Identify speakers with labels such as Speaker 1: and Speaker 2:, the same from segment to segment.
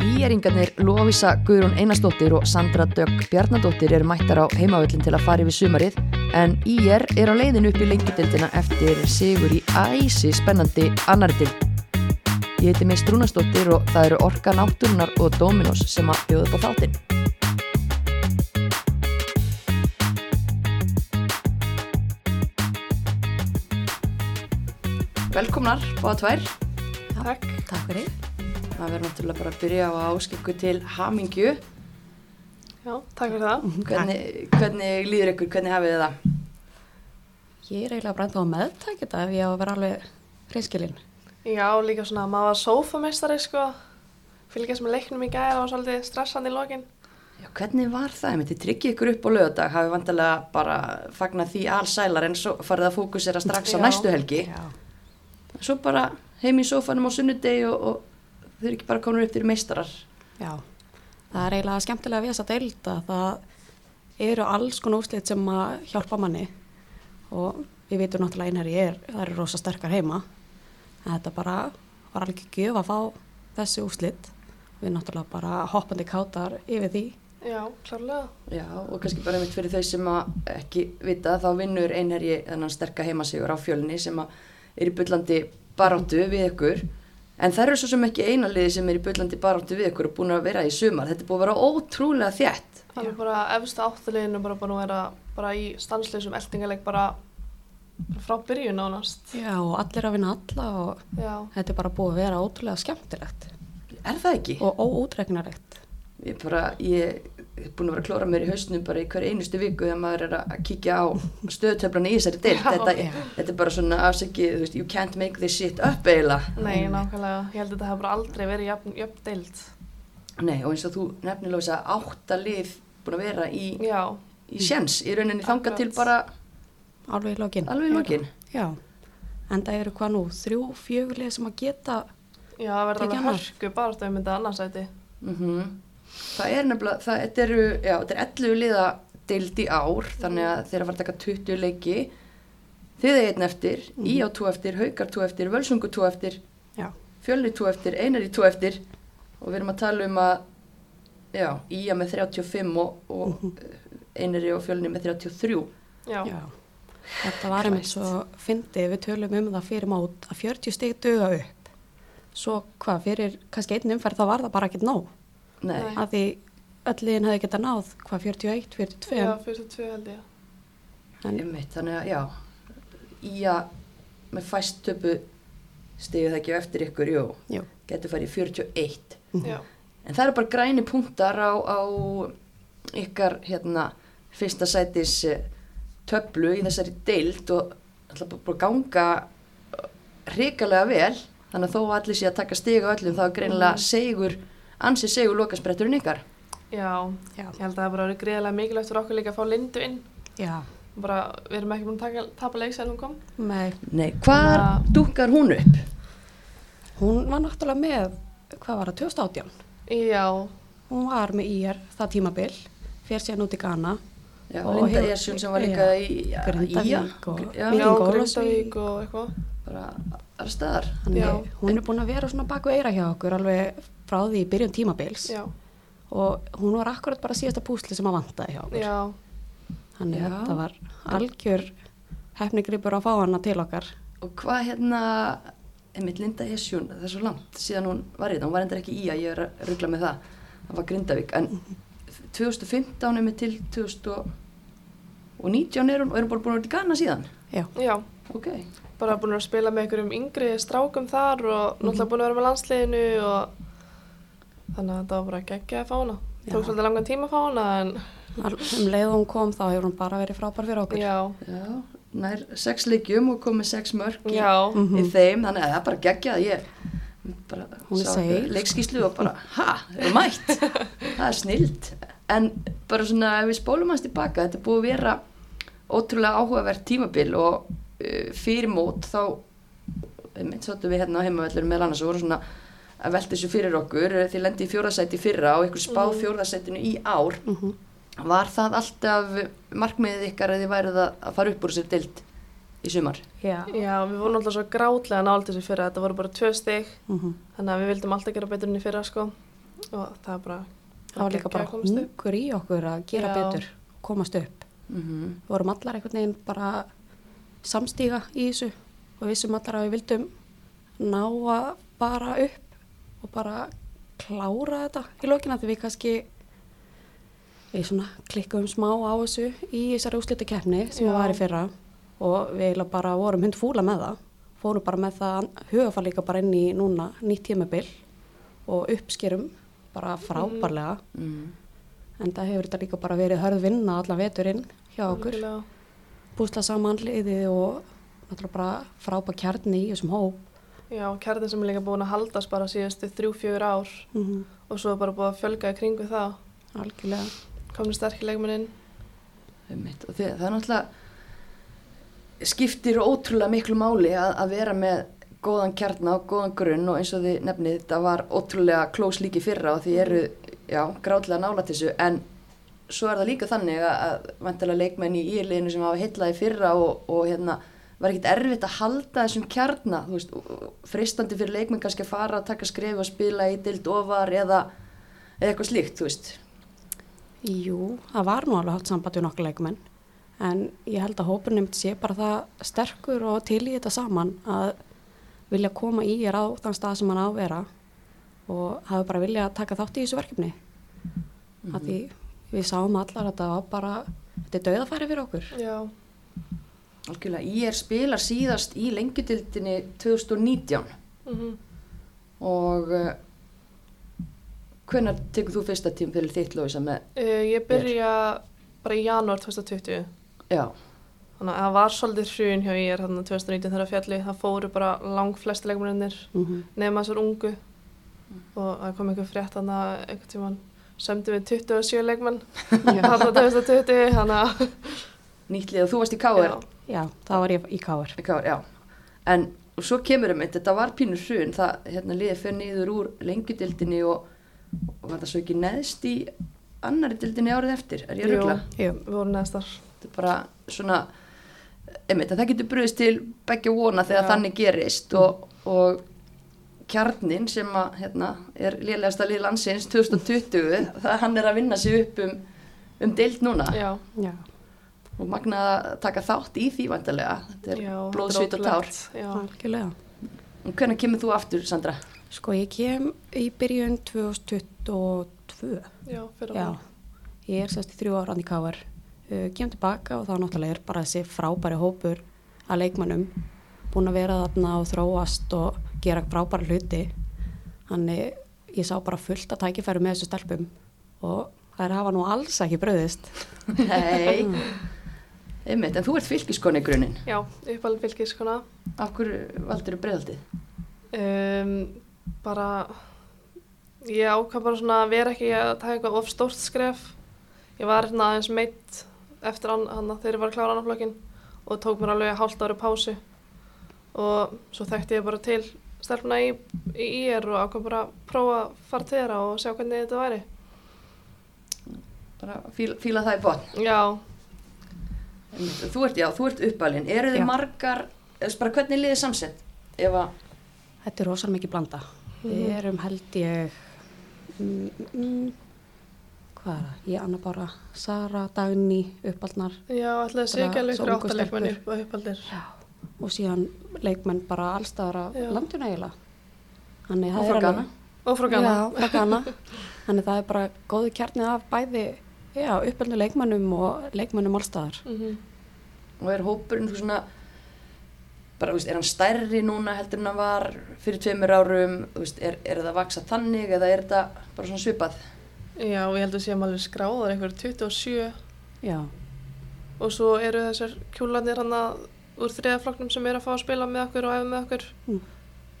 Speaker 1: Kýjaringarnir Lovisa Guðrún Einarsdóttir og Sandra Dögg Bjarnadóttir eru mættar á heimavöllin til að fara yfir sumarið en IR er á leiðin upp í lengjutildina eftir sigur í æsi spennandi annardild. Ég heiti Meist Rúnarsdóttir og það eru Orka Náttúrunar og Dominos sem að bjóða upp á þáttinn. Velkomnar, báða tvær.
Speaker 2: Takk.
Speaker 1: Takk fyrir.
Speaker 3: Það verður náttúrulega bara að byrja á að áskilku til hamingju.
Speaker 2: Já, takk fyrir það.
Speaker 3: Hvernig, hvernig líður ykkur, hvernig hafið þið það?
Speaker 4: Ég er eiginlega bara ennþá að meðtaka þetta ef ég á að vera alveg reynskilinn.
Speaker 2: Já, líka svona, maður var sófameistari, sko. Fylgjast með leiknum í gæða og svolítið stressandi í lokinn.
Speaker 3: Já, hvernig var það? Ég myndi tryggja ykkur upp á lögadag, hafið vandilega bara fagnað því allsælar en svo farið að fókusera strax á
Speaker 2: Já.
Speaker 3: næstu helgi. Svo bara heim í sófanum á sunnudegi og, og þau eru ekki bara komin upp til meistarar.
Speaker 4: Já. Það er eiginlega skemmtilega við þessa deild að það eru alls konar úslit sem að hjálpa manni og við vitum náttúrulega einherji er, það eru rosa sterkar heima en þetta bara var alveg ekki gjöf að fá þessi úslit. Við náttúrulega bara hoppandi kátar yfir því.
Speaker 2: Já, klárlega.
Speaker 3: Já, og kannski bara mitt fyrir þau sem að ekki vita þá vinnur einherji þennan sterka heimasigur á fjölni sem að er í byllandi baráttu við ykkur en það eru svo sem ekki eina liði sem er í byllandi baráttu við ykkur og búin að vera í sumar þetta er búin að vera ótrúlega þjætt
Speaker 2: Það er bara efstu áttuleginu bara búin að vera bara í stansleysum eldingaleg bara frá byrjun ánast.
Speaker 4: Já og allir að vinna alla og
Speaker 2: Já,
Speaker 4: þetta er bara búið að vera ótrúlega skemmtilegt
Speaker 3: er það ekki?
Speaker 4: og óútregnarlegt.
Speaker 3: Ég, bara, ég er búin að vera að klóra mér í hausnum bara í hver einustu viku þegar maður er að kíkja á stöðutöflana í þessari deilt þetta,
Speaker 4: já.
Speaker 3: þetta er bara svona afsækið, þú veist, you can't make this shit up eiginlega
Speaker 2: nei, nákvæmlega. Ég held að þetta hefur bara aldrei verið jöfn, jöfn deild.
Speaker 3: Nei, og eins og þú nefnilega þess að átta lið búin að vera í
Speaker 2: Já,
Speaker 3: í sjens í rauninni þanga
Speaker 2: Akkurat.
Speaker 3: til bara
Speaker 4: Alveg í lokin.
Speaker 3: alveg í lokin.
Speaker 4: Já, en það eru hvað nú, þrjú, fjögulegi sem að geta,
Speaker 2: já, það verður
Speaker 4: Tekið
Speaker 2: alveg
Speaker 4: annað.
Speaker 2: hörku baráttu um þetta annarsæti.
Speaker 3: Mhm. Það er nefnilega, það, þetta eru, já, þetta er 11 liða deild í ár, þannig að þeir að fara að taka 20 leiki, þið er einn eftir,
Speaker 4: Mhm.
Speaker 3: mm. í á 2 eftir, haukar 2 eftir, völsungu 2 eftir,
Speaker 4: já,
Speaker 3: fjölni 2 eftir, einar í 2 eftir og við erum að tala um að, já, í að með 35 og, og mm einari og fjölni með 33.
Speaker 2: Já,
Speaker 4: já. Þetta var einmitt svo fyndið, við tölum um það fyrir mót að 40 stig duga upp. Svo hvað, fyrir kannski einn umferð þá var það bara ekkert nóg.
Speaker 3: Nei,
Speaker 2: Nei.
Speaker 4: Af því öll liðin hefði getað náð, hvað, 41, 42.
Speaker 2: já fyrstu tvö held ég.
Speaker 4: En,
Speaker 3: einmitt, þannig að, já, í að með fæst töpu stegið það ekki á eftir ykkur, jú.
Speaker 4: jú,
Speaker 3: getur farið í 41
Speaker 2: Já,
Speaker 3: en það eru bara græni punktar á, á ykkar hérna, fyrsta sætis eh, töflu í þessari deild og ætla bara bara að ganga eh, hrikalega vel þannig að þó að allir sé að taka stiga á öllum þá er
Speaker 4: Mm.
Speaker 3: greinilega segur ansi segur lokaspretturinn ykkar
Speaker 2: já.
Speaker 4: já,
Speaker 2: Ég held að það bara verið greiðilega mikilvægt fyrir okkur líka að fá Lindu inn.
Speaker 4: já,
Speaker 2: Bara, við erum ekki búin að taka, tapa leik sér hún kom.
Speaker 4: með,
Speaker 3: Nei, hvar
Speaker 2: Na.
Speaker 3: dúkkar hún upp?
Speaker 4: hún var náttúrulega með, hvað var það, 2018.
Speaker 2: Já,
Speaker 4: Hún var með IR það tímabil, fyrir síðan út í Ghana.
Speaker 3: Já,
Speaker 4: Og
Speaker 3: Linda
Speaker 4: hefur-
Speaker 3: Esjón sem var líka
Speaker 4: já,
Speaker 3: í já,
Speaker 4: Grindavík og-
Speaker 3: já, já,
Speaker 2: já,
Speaker 4: Víking
Speaker 2: Grindavík og eitthvað.
Speaker 3: bara aðra staðar
Speaker 4: Þannig
Speaker 2: Já.
Speaker 4: að hún er búin að vera svona baku eira hjá okkur alveg frá því í byrjun tímabils
Speaker 2: Já,
Speaker 4: og hún var akkurat bara síðasta púsli sem að vantaði hjá okkur.
Speaker 2: já,
Speaker 4: Þannig
Speaker 3: Já.
Speaker 4: að þetta var algjör hefnigripur að fá hana til okkar.
Speaker 3: Og hvað hérna, einmitt Linda Esjún, það er svo langt síðan hún var í þetta, hún var endur ekki í að ég er að ruggla með það, það var Grindavík, en 2015 einmitt til 2019 er hún og erum bara búin að vera í Ghana síðan.
Speaker 4: Já,
Speaker 2: já.
Speaker 3: Ok,
Speaker 2: Bara búin að spila með einhverjum yngri strákum þar og
Speaker 4: Mhm.
Speaker 2: náttúrulega búin að vera með landsliðinu og þannig að þetta var bara geggja að fá hana.
Speaker 4: Já.
Speaker 2: Tók svolítið langan tíma að fá hana en
Speaker 4: Al- um leið og hún kom þá hefur hún bara verið frábær fyrir okkur.
Speaker 2: já,
Speaker 3: já, nær sex leikjum og komið sex mörg í,
Speaker 2: Já.
Speaker 3: í þeim, þannig að það er bara geggjað, ég bara
Speaker 4: Mhm. Hún er
Speaker 3: sá
Speaker 4: seig.
Speaker 3: leikskíslu og bara, ha, þau eru mætt, það er snild. En bara svona, ef við spólum hans tilbaka, þetta er búið að vera ótrúlega áhugavert tímabil og uh, fyrir mót þá, einmitt sáttum við hérna á heimavellur meðal annars og vorum svona að velta þessu fyrir okkur, þið lendi í fjórðasæti í fyrra og ykkur spáð
Speaker 4: Mhm.
Speaker 3: mm. fjórðasætinu í ár. Var það alltaf markmiðið ykkar að þið værið að að fara upp úr sér dild í sumar?
Speaker 4: Já.
Speaker 2: já, við vorum náttúrulega svo grátlega nált þessu fyrra. Þetta voru bara tvö stygg
Speaker 4: Mhm.
Speaker 2: þannig að við vildum alltaf gera betur enn í fyrra sko. og það er bara
Speaker 4: það var líka bara
Speaker 2: geggjað
Speaker 4: Mhm.
Speaker 2: að komast upp.
Speaker 4: hungur í okkur að gera
Speaker 2: Já.
Speaker 4: betur komast upp
Speaker 3: Mhm.
Speaker 4: við vorum allar einhvern veginn bara samstíga í þessu og vissum allar að við vildum ná að bara upp og bara klára þetta í lokina því við kannski við svona klikkuðum smá á þessu í þessari úslita sem
Speaker 2: Já.
Speaker 4: var í fyrra og við eiginlega bara vorum hund fúla með það fórum bara með það hugafar líka bara inn í núna nýtt tímabil og uppskerum bara frábærlega
Speaker 3: Mm.
Speaker 4: en það hefur þetta líka bara verið hörð vinna allan veturinn hjá okkur
Speaker 2: Algjörlega.
Speaker 4: búsla saman liði og náttúrulega bara frábær kjarni í þessum hóp
Speaker 2: Já, kærðin sem er líka búin að haldast bara síðustu þrjú, fjögur ár og svo er bara búin að fjölga í kringu það.
Speaker 4: algjörlega
Speaker 2: Komni sterkir leikmenn inn.
Speaker 3: Einmitt. Og þið, það er náttúrulega skiptir ótrúlega miklu máli að, að vera með góðan kjarna og góðan grunn og eins og þið nefnið þetta var ótrúlega klós líki fyrra og þið eru já, gráðlega nála til þessu en svo er það líka þannig að, að vantilega leikmenn í íliðinu sem hafa heitlaði fyrra og, og hérna var ekkert erfitt að halda þessum kjarna þú veist, og- og freistandi fyrir leikmenn kannski að fara að taka skref og spila í dild ofar eða, eða eitthvað slíkt þú veist
Speaker 4: Jú, það var nú alveg haft samband við nokkuð leikmenn en ég held að hópur nefnd sé bara það sterkur og til í þetta saman að vilja koma í er á þann stað sem hann á að vera og hafa bara vilja að taka þátt í þessu verkefni af því við sáum allar að þetta var bara þetta er dauðafæri fyrir okkur
Speaker 2: Já,
Speaker 3: Algjörlega, ég er spilar síðast í lengjutildinni 2019
Speaker 2: mm
Speaker 3: og uh, hvenær tekur þú fyrsta tím fyrir þitt lóisa með,
Speaker 2: uh, ég byrja bara í janúar 2020.
Speaker 3: já,
Speaker 2: Þannig að það var svolítið hrjun hjá ég er þarna 2019 þegar fjalli. Það fóru bara lang flesti leikmennir
Speaker 4: mm -hmm.
Speaker 2: nema þessar ungu
Speaker 3: Mm.
Speaker 2: og það kom einhver frétt þannig að einhvern tíman sömdu við 27 leikmenn þarna 2020 þannig að
Speaker 3: nýttlið og þú varst í K.R.
Speaker 2: Já.
Speaker 4: Já, það var ég í káar
Speaker 3: Í KR, já, en og svo kemur um þetta var pínur hrun, það hérna liðið fyrir niður úr lengjutildinni og, og var það svo ekki neðst í annari dildinni árið eftir, er ég
Speaker 2: Jú,
Speaker 3: rögla?
Speaker 4: Jú.
Speaker 2: við vorum neðstar
Speaker 3: þetta er bara svona einmitt að það getur bröðist til begge vona þegar
Speaker 2: Já. Mm.
Speaker 3: þannig gerist og, og kjarnin sem að hérna, er lélegasta lið landsins 2020 það hann er að vinna sig upp um, um deild núna
Speaker 2: Mm. Já,
Speaker 4: Já,
Speaker 3: og magnað að taka þátt í því vandalega þetta er
Speaker 2: já,
Speaker 3: blóðsvít og tár
Speaker 2: ótrúlegt, Já,
Speaker 4: algjörlega
Speaker 3: og hvernig kemur þú aftur Sandra?
Speaker 4: Sko, ég kem í byrjun 2022
Speaker 2: já, fyrir
Speaker 4: Já, ég er sérst í þrjú ára í K.R. Uh, kem tilbaka og þá náttúrulega er bara þessi frábæri hópur að leikmannum búin að vera þarna og þróast og gera frábæri hluti. Þannig ég sá bara fullt að tækifæru með þessu stelpum og þær hafa nú alls ekki bröðist.
Speaker 3: Nei
Speaker 2: Mm.
Speaker 3: einmitt, en þú ert fylgiskon í grunin
Speaker 2: Já, uppalinn fylgiskona
Speaker 3: af hverju valdur þú breyðaldið?
Speaker 2: um, Bara ég ákvað bara svona að vera ekki að taka eitthvað of stórt skref Ég var hérna aðeins meitt eftir hann, hann þegar ég var að klára annan flokkin og tók mér alveg hálft ári pásu og svo þekkti ég bara til stelpuna í, í IR og ákvað bara að prófa að fara til þeirra og sjá hvernig þetta væri
Speaker 3: bara fíla, fíla það í botn
Speaker 2: Já,
Speaker 3: Einmitt, og Þú ert, já, þú ert uppalinn. Eru þið
Speaker 4: Já.
Speaker 3: margar, eða bara hvernig er liðið samsett? Ef að,
Speaker 4: Þetta er rosalega mikið blanda. Við erum held ég, mm, mm, hvað er það? Ég, Anna Bára, Sara, Dagný, uppaldnar
Speaker 2: já, ætlaði að
Speaker 4: Bara
Speaker 2: segja alveg
Speaker 4: svo
Speaker 2: ykkur
Speaker 4: ungu stelpur.
Speaker 2: áttalegmenn upp og uppaldir
Speaker 4: og síðan leikmenn bara allstaðar af
Speaker 2: Já.
Speaker 4: landinu eiginlega Þannig það
Speaker 3: Og
Speaker 4: er
Speaker 3: frá
Speaker 4: alveg-
Speaker 3: Ghana.
Speaker 2: Og frá Ghana.
Speaker 4: Já, frá Ghana Þannig það er bara góðu kjarni af bæði já, uppeldu leikmennum og leikmennum allstaðar
Speaker 2: Mhm.
Speaker 3: og er hópurinn þú svona, bara, þú veist, er hann stærri núna heldur en hann var fyrir tveimur árum, þú veist, er, er það að vaksa þannig eða er þetta bara svona svipað?
Speaker 2: Já, og ég held að séum alveg skráðar einhver 27
Speaker 4: Já,
Speaker 2: og svo eru þessar kjúlanir hann úr þriðaflokknum sem eru að fá að spila með okkur og æfa með okkur
Speaker 4: Mm.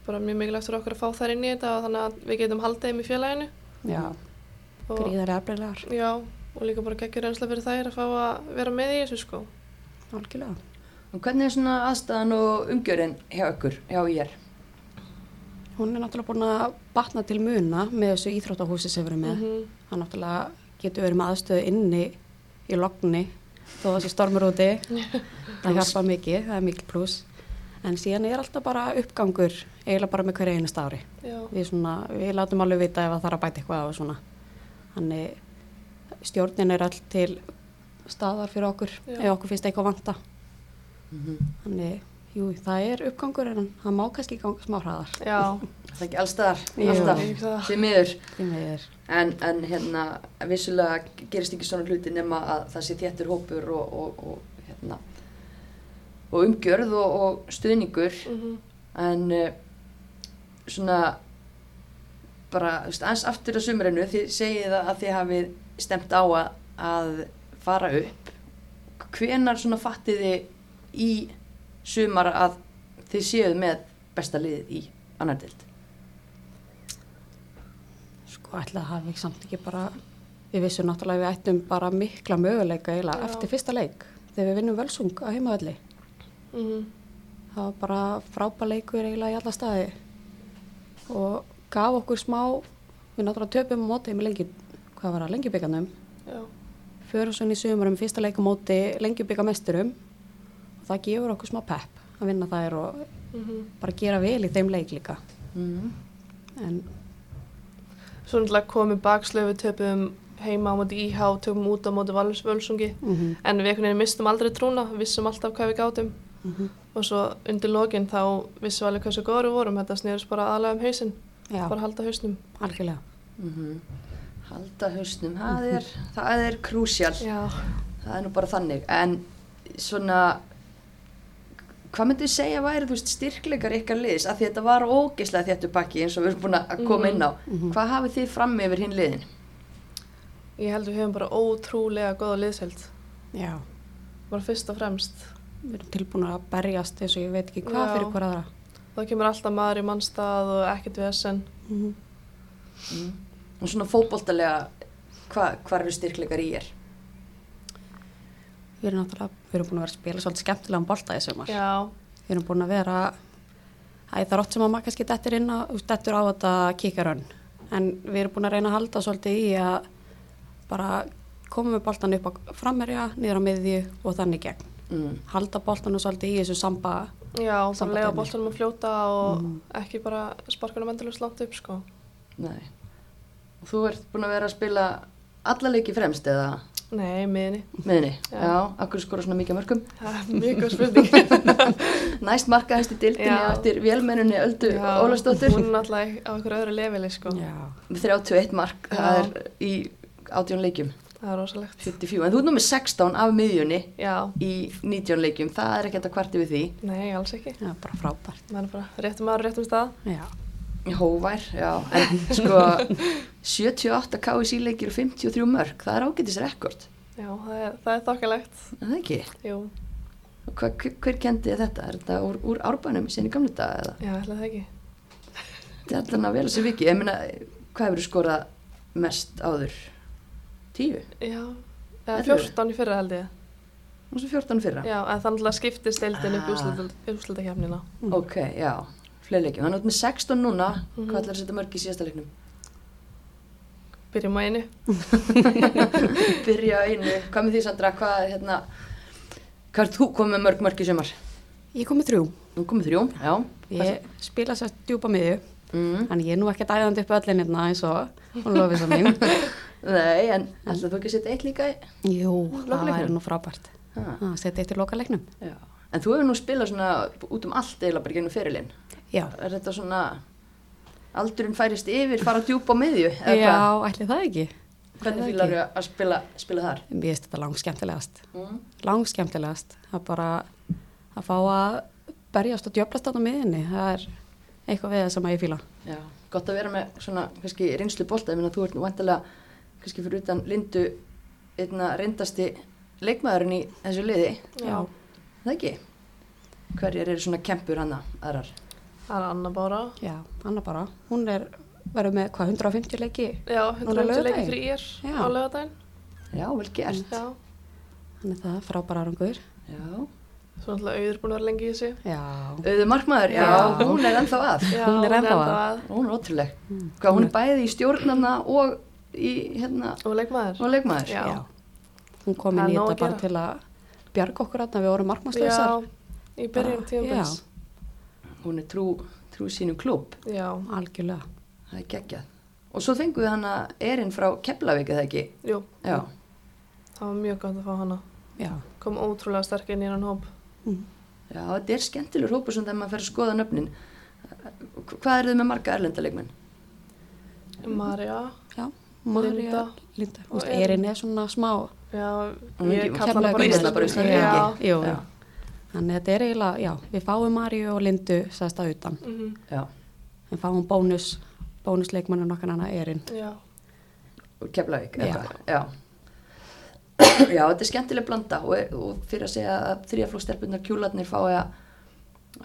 Speaker 2: bara mjög mikilvægt fyrir okkur að fá þær inn í þetta og þannig að við getum haldið þeim í félaginu
Speaker 4: já,
Speaker 2: og,
Speaker 4: gríðarlega afbreyðlegar
Speaker 2: Já, og líka bara geggjur einslega fyrir þær að fá að vera með í þessu sko
Speaker 4: Algjörlega
Speaker 3: Og hvernig er svona aðstæðan og umgjörinn hjá ykkur, hjá ég?
Speaker 4: Hún er náttúrulega búin að batna til muna með þessu íþróttahúsi sem við erum með
Speaker 2: Mhm.
Speaker 4: Hann náttúrulega getur verið með aðstöðu inni í logni þó að þessi stormur úti það hjálpa mikið, það er mikil pluss en síðan er alltaf bara uppgangur eiginlega bara með hverja einasta ári
Speaker 2: já,
Speaker 4: við, svona, við látum alveg vita ef það þarf að bæta eitthvað á og svona. Þannig stjórnin er allt til staðar fyrir okkur
Speaker 2: Já.
Speaker 4: ef okkur finnst eitthvað vanta.
Speaker 3: Mhm.
Speaker 4: Þannig, jú, það er uppgangur en hann má kannski ganga smá hraðar.
Speaker 2: já,
Speaker 3: Það er ekki allstaðar,
Speaker 4: Jú.
Speaker 3: alltaf,
Speaker 2: Ég hugsa það.
Speaker 3: því miður.
Speaker 4: Því miður.
Speaker 3: En, en hérna, vissulega gerist ekki svona hluti nema að það sé þéttur hópur og, og, og, hérna, og umgjörð og, og stuðningur.
Speaker 2: mhm,
Speaker 3: En uh, svona, bara þú veist, aðeins aftur að sumrinu, þið segið að að þið hafið stemt á að, að fara upp. Hvenar svona fattið þið í sumar að þið séuð með besta liðið í annar dild?
Speaker 4: Sko, ætla að hafi samt ekki bara, við vissum náttúrulega að við ættum bara mikla möguleika eiginlega
Speaker 2: Já.
Speaker 4: eftir fyrsta leik þegar við vinnum völsung á heimavalli.
Speaker 2: mhm,
Speaker 4: það var bara frábær leikur eiginlega í alla staði og gaf okkur smá við náttúrulega töpum á móti með lengi hvað var það, lengjubyggarnum
Speaker 2: já,
Speaker 4: förum svo inn í sömurum, fyrsta leikum móti lengjubyggarmesturum og það gefur okkur smá pepp að vinna þær og
Speaker 2: mhm.
Speaker 4: bara gera vel í þeim leik líka
Speaker 3: Mm.
Speaker 4: en
Speaker 2: Svo náttúrulega komið bakslöfu, töpum heima á móti íhá, töpum út á móti valsvölsungi.
Speaker 4: mhm,
Speaker 2: En við einhvern veginn mistum aldrei trúna, vissum alltaf hvað við gátum.
Speaker 4: mhm,
Speaker 2: Og svo undir lokin þá vissum við alveg hversu góður við vorum. Þetta snerist bara aðlega um hausinn,
Speaker 4: já,
Speaker 2: bara halda hausnum.
Speaker 4: algjörlega
Speaker 3: Mhm. Halda hausnum, það er, það er krúsjál,
Speaker 2: Já.
Speaker 3: það er nú bara þannig, en svona, hvað myndu segja væri, þú veist, styrkleikar ykkar liðs, af því þetta var ógeðslega þéttu bakki eins og við erum búin að koma inn á,
Speaker 4: Mhm.
Speaker 3: hvað hafið þið fram yfir hinn liðin?
Speaker 2: Ég held við höfum bara ótrúlega góða liðsheld.
Speaker 4: já,
Speaker 2: Bara fyrst og fremst.
Speaker 4: við erum tilbúin að berjast eins og ég veit ekki hvað
Speaker 2: Já.
Speaker 4: fyrir hver aðra
Speaker 2: Þá kemur alltaf maður í mannstað og ekkert vesen.
Speaker 4: mhm.
Speaker 3: Og svona fótboltalega, hva, hvað eru styrkleikar í er?
Speaker 4: við erum náttúrulega, við erum búin að vera að spila svolítið skemmtilegan bolta í sömur
Speaker 2: Já.
Speaker 4: Við erum búin að vera, æ, það er oft sem að maður kannski dettur inn á, dettur á þetta kíkarönn. En við erum búin að reyna að halda svolítið í að bara koma með boltan upp á frammerja, niður á miðju og þannig í gegn.
Speaker 3: Mm.
Speaker 4: Halda boltanu svolítið í þessu samba.
Speaker 2: Já, bara
Speaker 4: Samband
Speaker 2: lega
Speaker 4: dæmi.
Speaker 2: boltanum að fljóta og
Speaker 4: Mhm.
Speaker 2: ekki bara sparkunum endalust langt upp, sko.
Speaker 3: Nei. Og þú ert búin að vera að spila alla leiki fremst eða
Speaker 2: Nei, í miðinni.
Speaker 3: meðinni?
Speaker 2: Já.
Speaker 3: Já, akkur skora svona mikið af mörgum?
Speaker 2: Það er mjög góð spurning.
Speaker 3: næst markahæst í dildinni
Speaker 2: Já.
Speaker 3: eftir vélmennunni Öldu Ólafsdóttur
Speaker 2: Hún er náttúrulega á einhverju öðru leveli sko.
Speaker 4: Já.
Speaker 3: með 31 mark, það
Speaker 2: Já.
Speaker 3: er í 18 leikjum,
Speaker 2: Það er rosalegt.
Speaker 3: 44 en þú ert nú með 16 af miðjunni
Speaker 2: Já,
Speaker 3: í 19 leikjum, það er ekki þetta kvarti við því
Speaker 2: nei, alls ekki.
Speaker 4: Það er bara frábært.
Speaker 2: Það er bara réttum maður, réttum stað.
Speaker 4: Já.
Speaker 3: hóvær, já, en sko 78 KSI leikir og 53 mörk, það er ágætis rekord
Speaker 2: Já, það er, það er þokkalegt.
Speaker 3: er það ekki,
Speaker 2: Jú,
Speaker 3: Hva, hver, hver kendi þér þetta, er þetta úr, úr árbænum sinni gamla dag eða,
Speaker 2: já, ætla það ekki.
Speaker 3: þetta er alltaf vel þessi viki, ég meina hvað hefur skorað mest áður 10,
Speaker 2: Já, eða
Speaker 3: Ellefu?
Speaker 2: 14 í fyrra held ég.
Speaker 3: og svo 14 fyrra
Speaker 2: Já, en þannig að skiptist deildin upp
Speaker 3: Ah.
Speaker 2: í úslutakefnina.
Speaker 4: Mhm.
Speaker 3: Ok, já, fleirleikjum. Þannig að þú ert með 16 núna,
Speaker 2: Mhm.
Speaker 3: hvað ætlar að setja mörg í síðasta leiknum?
Speaker 2: Byrjum á einu.
Speaker 3: Byrja á einu, hvað með því Sandra, hvað er hérna, hvað er þú komið með mörg mörg í sumar?
Speaker 4: Ég kom með þrjú.
Speaker 3: Þú komið þrjú, já.
Speaker 4: Ég spila sér djúpa miðju.
Speaker 3: Mm.
Speaker 4: Þannig ég er nú ekki dæðandi upp öllinirna eins og hún lofið svo mín.
Speaker 3: Nei, en ætlar þú ekki að setja eitt líka? í?
Speaker 4: Jú, það
Speaker 3: Lokaleiknum?
Speaker 4: er nú frábært.
Speaker 3: Ha,
Speaker 4: Það setja eitt í lokalegnum.
Speaker 3: já. En þú hefur nú spilað svona út um allt eiginlega bara gennum ferilinn.
Speaker 4: Já.
Speaker 3: Er þetta svona, aldurinn færist yfir, fara djúpa á miðju? eða hvað?
Speaker 4: Já, ætli það ekki.
Speaker 3: Hvernig fílar þú að spila, spila þar?
Speaker 4: Mér finnst þetta langskemmtilegast.
Speaker 3: Mm.
Speaker 4: Langskemmtilegast. Það er bara að fá að berjast og djöflast þarna á miðinni. Það er eitthvað við það sem að ég fýla.
Speaker 3: Já, gott að vera með svona kannski reynslu bolta, ég meina þú ert nú vantilega kannski fyrir utan lindu einna reyndasti leikmaðurinn í þessu liði,
Speaker 2: Já.
Speaker 3: Er það ekki? Hverjar eru svona kempur hana aðrar?
Speaker 2: Það er Anna Bára.
Speaker 4: Já, Anna bara. Hún er verið með hvað, 150 leiki.
Speaker 2: Já, 150
Speaker 4: Núna
Speaker 2: leiki
Speaker 4: laugardaginn?
Speaker 2: fyrir ír
Speaker 4: Já.
Speaker 2: á lögadaginn.
Speaker 3: Já, vel gert.
Speaker 2: Já.
Speaker 4: Þannig það er frábæra árangur.
Speaker 3: Já.
Speaker 2: Svo náttúrulega auður búin að vera lengi í þessu.
Speaker 4: Já.
Speaker 3: Auður markmaður, já,
Speaker 4: Já.
Speaker 3: hún er ennþá að.
Speaker 2: Já,
Speaker 4: Hún er ennþá að.
Speaker 2: að.
Speaker 3: Hún er ótrúleg. Hvað, hún er bæði í stjórnarna og í hérna,
Speaker 2: Og leikmaður.
Speaker 3: og leikmaður.
Speaker 2: Já.
Speaker 4: Hún kom
Speaker 2: Það er
Speaker 4: inn í
Speaker 2: nóg að
Speaker 4: þetta bara
Speaker 2: gera.
Speaker 4: til að
Speaker 2: Ah,
Speaker 4: bjarga okkur að við vorum markmannslausar.
Speaker 2: Já, í byrjun tíðanbils.
Speaker 3: Hún er trú, þrjú sínum klúb
Speaker 2: já,
Speaker 4: algjörlega.
Speaker 3: það er geggjað og svo fengum við hana erinn frá Keflavík eða ekki
Speaker 2: jú,
Speaker 3: já,
Speaker 2: það var mjög gott að fá hana
Speaker 4: Já.
Speaker 2: kom ótrúlega sterk inn í hennan hóp
Speaker 4: Mm.
Speaker 3: já þetta er skemmtilegur hópur sem þegar maður fer að skoða nöfnin Hva- hvað eru þið með marga erlendalegmenn?
Speaker 2: Mhm. Marja,
Speaker 4: Já. María,
Speaker 2: Linda.
Speaker 4: Linda.
Speaker 2: Og
Speaker 4: Og Erin er svona smá.
Speaker 2: já,
Speaker 3: Hún er
Speaker 2: ég
Speaker 3: ekki-
Speaker 2: kalla
Speaker 3: Keflavík-
Speaker 2: hana bara
Speaker 3: Ísland, bara Ísland,
Speaker 2: já,
Speaker 3: ekki?
Speaker 4: Jú.
Speaker 3: Já.
Speaker 4: Þannig að þetta er eiginlega, já, við fáum Maríu og Lindu sæðst að utan.
Speaker 2: mhm,
Speaker 3: já,
Speaker 4: Við fáum bónus, bónusleikmannin okkar hana Erin.
Speaker 2: já,
Speaker 3: og Keflavík
Speaker 4: Já.
Speaker 3: eitthvað, já. já, þetta er skemmtileg blanda og, og fyrir að segja að þrjaflokkstelpunar kjúlarnir fái að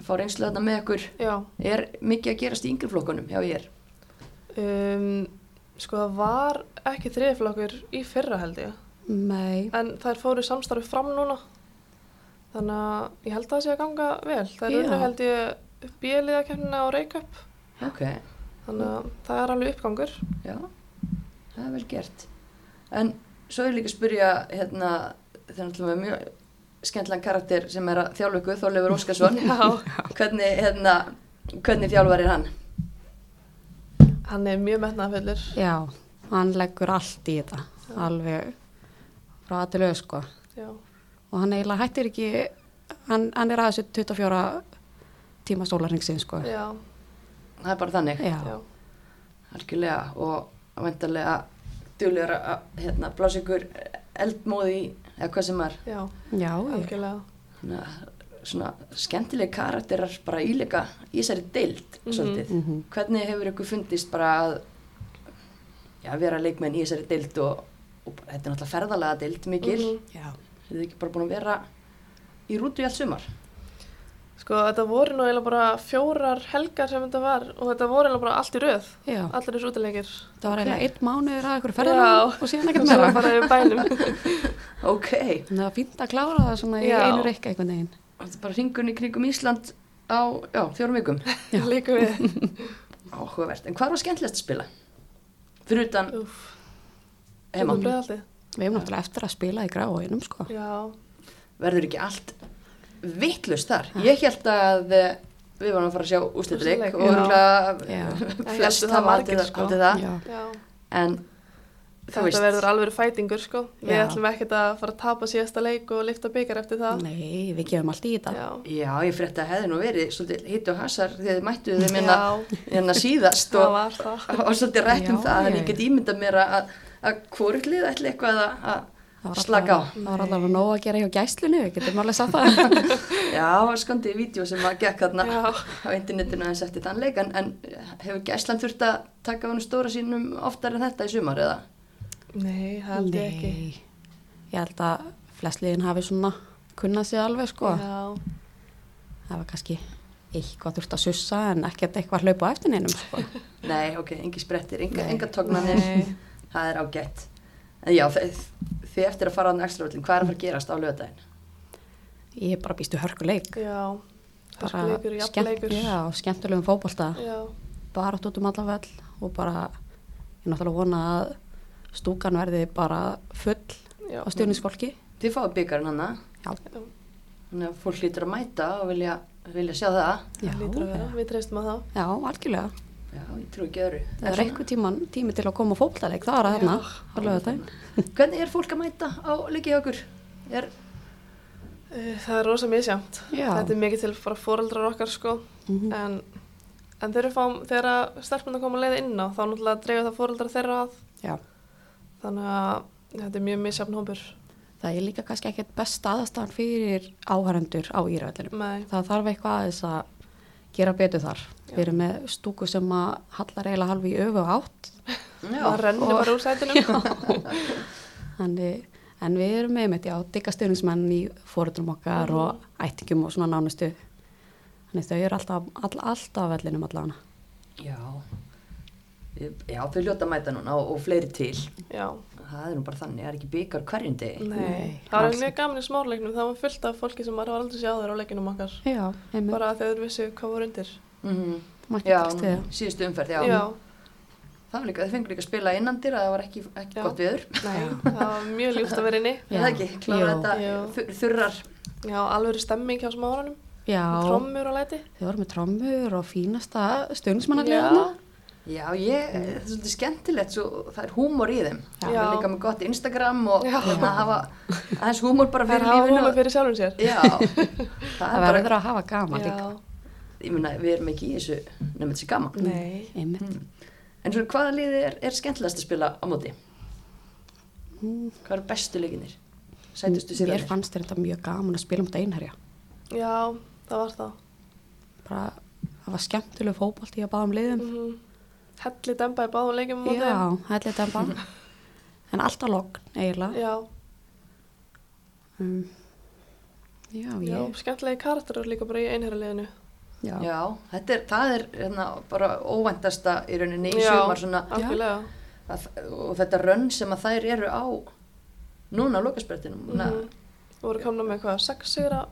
Speaker 3: fá reynslu þarna með ykkur
Speaker 2: já
Speaker 3: er mikið að gerast í yngri flokkunum hjá ég
Speaker 2: um, sko það var ekki þriðflokkur í fyrra held ég
Speaker 4: Nei,
Speaker 2: en þær fóru í samstarfi fram núna þannig að ég held að það sé að ganga vel þær
Speaker 4: Já.
Speaker 2: eru held ég bíliðakefnina og reykjöp
Speaker 3: ok,
Speaker 2: þannig að það er alveg uppgangur
Speaker 3: já það er vel gert en svo er líka að spyrja hérna, það er náttúrulega mjög skemmtilegan karakter sem er að þjálfa ykkur Þorleifur Óskarsson hvernig, hérna, hvernig þjálfar er hann?
Speaker 2: hann er mjög metnaðfullur
Speaker 4: já, hann leggur allt í þetta, alveg frá aðtilöðu sko.
Speaker 2: já,
Speaker 4: Og hann eiginlega hættir ekki, hann, hann er aðeins 24 tíma sólarningsin sko.
Speaker 2: já,
Speaker 3: það er bara þannig,
Speaker 4: Já,
Speaker 2: já,
Speaker 3: algjörlega og vendarlega duðlegur að hérna, blása ykkur eldmóði í eða hvað sem er
Speaker 2: já,
Speaker 4: já, ég-
Speaker 2: algjörlega
Speaker 3: svona, svona skemmtileg karakterar bara íleika í þessari deild
Speaker 2: Mhm.
Speaker 3: svolítið.
Speaker 4: Mhm.
Speaker 3: Hvernig hefur ykkur fundist bara að já, vera leikmenn í þessari deild og, og bara, þetta er náttúrulega ferðalega deild mikil mm
Speaker 2: Mhm.
Speaker 4: já,
Speaker 3: þið ekki bara búin að vera í rútu í allt sumar?
Speaker 2: sko þetta voru nú eiginlega bara fjórar helgar sem þetta var og þetta voru eiginlega bara allt í röð
Speaker 4: já.
Speaker 2: allir þessu útilegir
Speaker 4: Það var eiginlega einn mánuður að ykkur
Speaker 2: Já.
Speaker 4: ferðar og síðan ekkert
Speaker 2: Svo
Speaker 4: meira.
Speaker 2: bara yfir bænum
Speaker 3: Ok,
Speaker 4: Þannig að það er fínt að klára það svona í
Speaker 2: Já.
Speaker 4: einu reikka einhvern veginn.
Speaker 3: þetta er bara ringun í kringum Ísland á já, fjórum vikum
Speaker 2: líka við
Speaker 3: áhugavert, en hvað var skemmtilegast að spila? Fyrir utan
Speaker 2: Úff,
Speaker 3: heima,
Speaker 2: tökum breiðaltið.
Speaker 4: Við hefum náttúrulega eftir að spila í gráinum sko.
Speaker 2: Já,
Speaker 3: verður ekki allt vittlust þar ég held að eh, við varum að fara að sjá úrslitleik
Speaker 2: Úrslitaleik,
Speaker 3: og
Speaker 4: Já.
Speaker 3: örugglega
Speaker 2: Ég
Speaker 3: flest
Speaker 2: held að það
Speaker 3: hafa
Speaker 2: margir,
Speaker 3: haldið
Speaker 2: sko.
Speaker 3: haldið það
Speaker 4: Já.
Speaker 2: já.
Speaker 3: en þú
Speaker 2: Þetta
Speaker 3: veist
Speaker 2: verður alveg fætingur sko. Við
Speaker 4: Já.
Speaker 2: ætlum ekkert að fara að tapa síðasta leik og lifta byggar eftir það.
Speaker 4: Nei, við gefum allt í þetta.
Speaker 2: Já.
Speaker 3: já ég frétta að hefði nú verið svolítið hitt og hasar þegar þið mættu þið minna,
Speaker 2: já,
Speaker 3: minna síðast
Speaker 2: það
Speaker 4: Sko.
Speaker 3: og,
Speaker 2: var það.
Speaker 4: Hérna.
Speaker 3: og svolítið rætt um
Speaker 4: Já,
Speaker 3: það en
Speaker 4: ég-
Speaker 3: ég get ímyndað mér að, að hvoruglið ætli eitthvað að-
Speaker 4: Það
Speaker 3: að
Speaker 4: var
Speaker 3: slaka á
Speaker 4: allavega- Það var allavega nóg að gera hjá gæslinu, við getum alveg sagt það.
Speaker 3: já, skondið vídeo sem að gekk þarna
Speaker 2: Já.
Speaker 3: á internetinu aðeins eftir þann leik en, en hefur Gæsland þurft að taka honum stóra sínum oftar en þetta í sumar eða?
Speaker 2: Nei, það held ég ekki.
Speaker 4: Ég held að flestliðin hafi svona kunnað sér alveg sko.
Speaker 2: Já,
Speaker 4: Það var kannski eitthvað þurft að sussa en ekkert eitthvað hlaupa á eftir neinum sko.
Speaker 3: Nei, ok, engi sprettir, enga,
Speaker 4: Nei.
Speaker 3: enga tognanir,
Speaker 2: Nei.
Speaker 3: það er ágætt. En já, þið, þið eftir að fara á nægstravöldin, hvað er að fara að gerast á lögadaginn?
Speaker 4: Ég bara býstu hörkuleik.
Speaker 2: já.
Speaker 4: Sko. Bara
Speaker 2: Hörkuleikur, jafnleikur.
Speaker 4: já, og skemmtilegum fótbolta.
Speaker 2: já.
Speaker 4: Bara átt út um alla vell og bara, ég náttúrulega vona að stúkan verði bara full
Speaker 2: Já.
Speaker 4: á stjórninskolki.
Speaker 3: Þið fáið byggarinn hana,
Speaker 4: Já,
Speaker 3: þannig að fólk lítur að mæta og vilja, vilja sjá það.
Speaker 4: já,
Speaker 2: Það lítur að vera. Við treystum að það.
Speaker 4: já, algjörlega.
Speaker 3: Já, ég trú ekki öðru.
Speaker 4: Það er einhver tíman, tími til að koma á fótboltaleik, það er að þarna, á lögadaginn.
Speaker 3: Hvernig er fólk að mæta á leikið okkur? Er,
Speaker 2: Uh, Það er rosa misjæmt.
Speaker 4: Já.
Speaker 2: Þetta er mikið til bara fóreldrar okkar sko.
Speaker 3: Mhm.
Speaker 2: En, en þegar, við fáum, þegar stelpunar koma að leiða inn á þá náttúrulega dreifir það fóreldrar þeirra að.
Speaker 4: Já,
Speaker 2: Þannig að þetta er mjög misjæfn hópur.
Speaker 4: það er líka kannski ekkert best aðastafan fyrir áhærendur á Íravellinum.
Speaker 2: Nei.
Speaker 4: Það þarf eitthvað aðeins að gera betur þar. Við erum með stúku sem að hallar eiginlega halvi í öfu átt,
Speaker 3: já,
Speaker 2: Það rennir bara úr sætunum.
Speaker 4: Þannig, en við erum með mitt, já, digga stuðningsmenn í fóruðrum okkar og ættingum og svona nánustu. Þannig þau eru alltaf, all, alltaf á vellinum allavega.
Speaker 3: já, Ég- já, þau ljóta að mæta núna og, og fleiri til.
Speaker 2: Já.
Speaker 3: Það er nú bara þannig, það er ekki byggar hverjum degi.
Speaker 2: Nei,
Speaker 4: Nei,
Speaker 2: það var
Speaker 4: alls
Speaker 2: mjög gaman í smárleiknum, það var fullt af fólki sem maður var aldrei séð áður á leikinum okkar.
Speaker 4: Já, einmitt,
Speaker 2: Bara þegar þeir vissu hvað voru undir.
Speaker 3: Mhm.
Speaker 4: mætti
Speaker 3: Já,
Speaker 4: takst við það.
Speaker 3: síðustu umferð, já.
Speaker 2: Já,
Speaker 3: Það var líka, þau fengur líka að spila innandir að það var ekki, ekki
Speaker 2: Já.
Speaker 3: gott viður.
Speaker 2: nei, það var mjög ljúft að vera inni.
Speaker 3: Já, það ekki, klára
Speaker 4: Jú.
Speaker 3: þetta
Speaker 2: Jú.
Speaker 3: þu- þurrar.
Speaker 2: Já, alveg stemming hjá smárunum.
Speaker 4: Já,
Speaker 2: trommur og læti
Speaker 4: þið voru með trommur og fínasta stöðnismannarlega
Speaker 2: Já.
Speaker 4: þarna.
Speaker 3: Já, ég, það er svolítið skemmtilegt, svo, það er húmor í þeim.
Speaker 2: Mm. Já.
Speaker 3: Það er líka með gott Instagram og
Speaker 2: Já.
Speaker 3: það hafa aðeins húmor bara
Speaker 2: Það er
Speaker 3: fyrir
Speaker 2: hafa
Speaker 3: lífinu.
Speaker 2: húma fyrir sjálfum sér
Speaker 3: Já, það
Speaker 4: Það
Speaker 3: er bara,
Speaker 4: verður að hafa gaman líka.
Speaker 3: ég meina, við erum ekki í þessu nefnum þessi gaman.
Speaker 2: Nei
Speaker 4: Einmitt.
Speaker 3: En svona, hvaða liði er, er skemmtilegast að spila á móti?
Speaker 4: Mm.
Speaker 3: Hvað eru bestu leikinir? Sætustu sér
Speaker 4: Mér fannst þér þetta mjög gaman að spila um þetta einherja.
Speaker 2: Já, það var það
Speaker 4: Bara, það var skemmtileg fókbalt í að báðum liðum.
Speaker 2: mm Helli demba í báðum leikjum Mm, á móti
Speaker 4: Já, hætli þetta bara. en alltaf logn eiginlega.
Speaker 2: Já,
Speaker 4: Um, já,
Speaker 2: já,
Speaker 4: ég.
Speaker 2: skemmtilegi karakterar líka bara í einherjarliðinu.
Speaker 4: Já.
Speaker 3: Já, þetta er, það er hérna, bara óvæntasta í rauninni í
Speaker 2: Já,
Speaker 3: sumar svona
Speaker 2: algjörlega.
Speaker 3: að, og þetta rönn sem að þær eru á núna á lokasprettinum.
Speaker 2: Mm
Speaker 3: Mm.
Speaker 2: Voru komna með hvað, sex sigra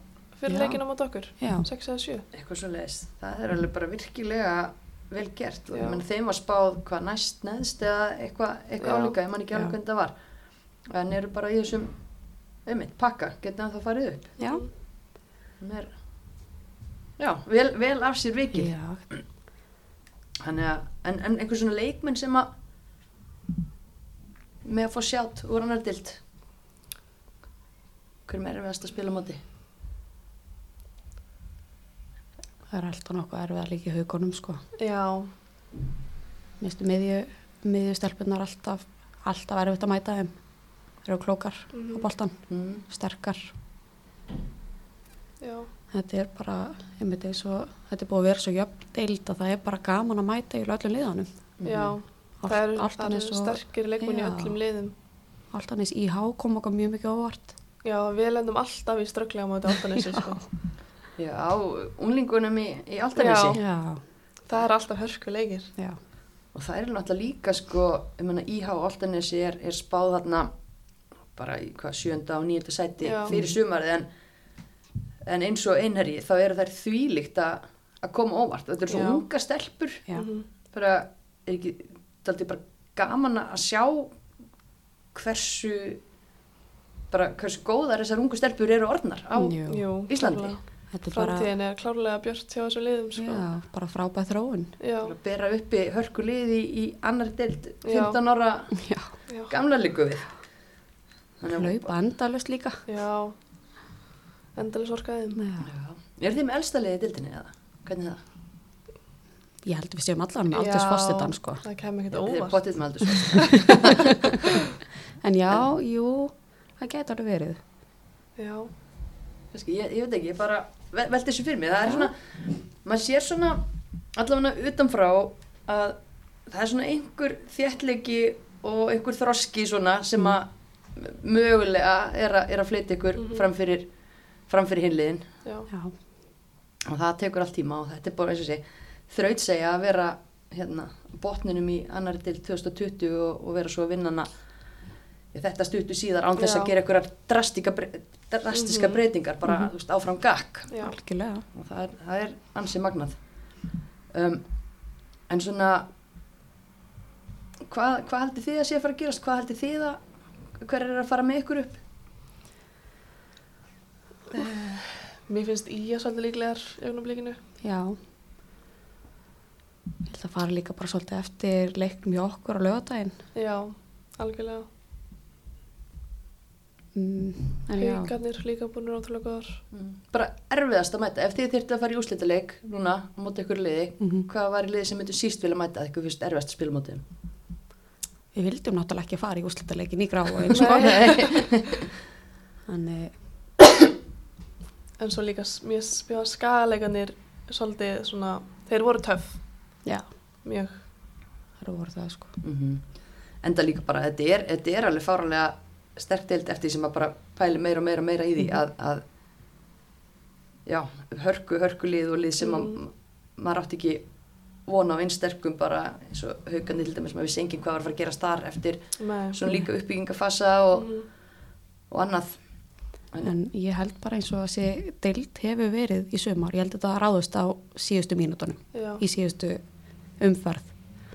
Speaker 2: fyrir
Speaker 4: Já.
Speaker 2: leikina mot okkur?
Speaker 4: Já.
Speaker 2: Sex eða sjö?
Speaker 3: eitthvað svo leiðis það er alveg bara virkilega vel gert og
Speaker 2: Já.
Speaker 3: ég menn þeim var spáð hvað næst neðst eða eitthvað, eitthvað
Speaker 2: Já.
Speaker 3: álíka ég man ekki alveg
Speaker 4: Já.
Speaker 3: hvernig það var en eru bara í þessum einmitt, pakka, getna það farið upp
Speaker 4: Já.
Speaker 2: Mhm.
Speaker 3: Mér, já, vel, vel af sér viki
Speaker 4: Já.
Speaker 3: þannig að, en, en einhver svona leikmenn sem að með að fá sjátt úr annar dild hverjum erum við að spila á móti
Speaker 4: Það er alltaf nokkuð erfið að líka í haugunum sko.
Speaker 2: Já,
Speaker 4: Mér finnst miðju, miðju stelpunar alltaf, alltaf erfitt að mæta þeim. Þeir eru klókar á
Speaker 2: Mhm.
Speaker 4: boltan,
Speaker 3: mm.
Speaker 4: sterkar.
Speaker 2: já,
Speaker 4: Þetta er bara, ég myndi eins og, þetta er búið að vera svo jöfn deild að það er bara gaman að mæta í öllum liðanum.
Speaker 2: já.
Speaker 4: Allt-
Speaker 2: Það eru,
Speaker 4: allt
Speaker 2: það
Speaker 4: annars
Speaker 2: eru
Speaker 4: og-
Speaker 2: sterkir leikmenn í
Speaker 4: Já.
Speaker 2: öllum liðum.
Speaker 4: Allt annars IH kom okkur mjög mikið á óvart.
Speaker 2: Já, við lendum alltaf í strögglega á móti áltanessi, sko.
Speaker 3: já, unglingunum í, í Altanesi
Speaker 2: Já.
Speaker 4: Já,
Speaker 2: Það er alltaf hörku leikir.
Speaker 4: já,
Speaker 3: og það er náttúrulega líka sko, ég meina IH Altanesi er, er spáð þarna bara í hvað sjönda og nýjönda sæti
Speaker 2: Já.
Speaker 3: fyrir sumarið en, en eins og einherji þá eru þær þvílíkt að að koma óvart, þetta eru svo
Speaker 2: Já.
Speaker 3: unga stelpur
Speaker 4: já.
Speaker 2: Mhm.
Speaker 3: bara, er ekki þetta er bara gaman að sjá hversu bara hversu góðar þessar ungu stelpur eru orðnar á
Speaker 4: Jú.
Speaker 2: Jú,
Speaker 3: Íslandi.
Speaker 2: klárlega.
Speaker 4: Þetta er bara,
Speaker 2: Framtíðin er klárlega björt hjá þessum liðum, sko.
Speaker 4: já, bara frábæð þróun.
Speaker 2: Já,
Speaker 3: bara bera uppi hörkuliði í annar deild
Speaker 2: Já.
Speaker 3: 15 ára
Speaker 4: Já,
Speaker 2: já,
Speaker 3: gamla líku við
Speaker 4: hlaupa endalust líka.
Speaker 2: já. Endalis orkaðið.
Speaker 4: Já.
Speaker 3: Er þið með elsta liðið í dildinni eða? Hvernig er það?
Speaker 4: Ég held við séum allan aldursfostetan sko.
Speaker 2: Það kemur ekkert
Speaker 3: Þið er
Speaker 2: óvart.
Speaker 3: potið með aldur svo.
Speaker 4: En já, jú, það getur alveg verið.
Speaker 2: Já,
Speaker 3: Kannski, ég, ég veit ekki, ég bara ve- velti þessu fyrir mig. Það er svona, maður sér svona allavega utanfrá að það er svona einhver þéttleiki og einhver þroski svona sem að mögulega er, a, er að flytja ykkur
Speaker 2: Mhm.
Speaker 3: fram fyrir, fram fyrir hinliðin
Speaker 2: já,
Speaker 4: Já,
Speaker 3: og það tekur allt tíma og þetta er bara eins og sé þraut segja að vera hérna, botninum í annari til 2020 og, og vera svo að vinna hana í þetta stuttu síðar án þess
Speaker 2: Já.
Speaker 3: að gera einhverjar drastíka bre- drastiska
Speaker 2: Mhm.
Speaker 3: breytingar bara mm veist, áfram gakk
Speaker 2: já.
Speaker 4: algjörlega.
Speaker 3: og það er, það er ansi magnað um, en svona hvað, hvað heldur þið að sé að fara að gerast hvað heldur þið að hver er að fara með ykkur upp
Speaker 2: Mér finnst í að svolítið líklegar í augnablikinu.
Speaker 4: Já. Ég held að fara líka bara svolítið eftir leiknum hjá okkur á lögadaginn.
Speaker 2: Já, algjörlega.
Speaker 4: Mm, en já,
Speaker 2: Haukarnir líka búinir ótrúlega góðar.
Speaker 3: bara erfiðast að mæta ef þið þyrftu að fara í úrslitaleik núna á móti ykkur liði
Speaker 4: Mhm.
Speaker 3: hvað var í liði sem myndu síst vilja mæta að ykkur fyrst erfiðast að spila móti þeim?
Speaker 4: við vildum náttúrulega ekki fara í úslitaleikin í gráin sko.
Speaker 3: Nei.
Speaker 4: Þannig,
Speaker 2: En svo líka, s- mér spjáða skagaleikarnir svolítið svona, þeir voru töff,
Speaker 4: já,
Speaker 2: mjög.
Speaker 4: það voru það sko.
Speaker 3: Mhm. enda líka bara þetta er, þetta er alveg fáranlega sterk deild eftir því sem að bara pæli meira og meira og meira í því
Speaker 2: Mhm.
Speaker 3: að, að já, hörku, hörku lið og lið sem að
Speaker 2: Mhm.
Speaker 3: maður átti ekki vona á einn sterkum bara eins og haugandi til dæmis maður vissi enginn hvað var að fara að gerast þar eftir
Speaker 2: Nei.
Speaker 3: svona líka uppbyggingafasa og,
Speaker 2: Mhm.
Speaker 3: og annað en,
Speaker 4: En ég held bara eins og að þessi deild hefur verið í sumar. Ég held að það ráðust á síðustu mínútonum,
Speaker 2: Já,
Speaker 4: í síðustu umferð.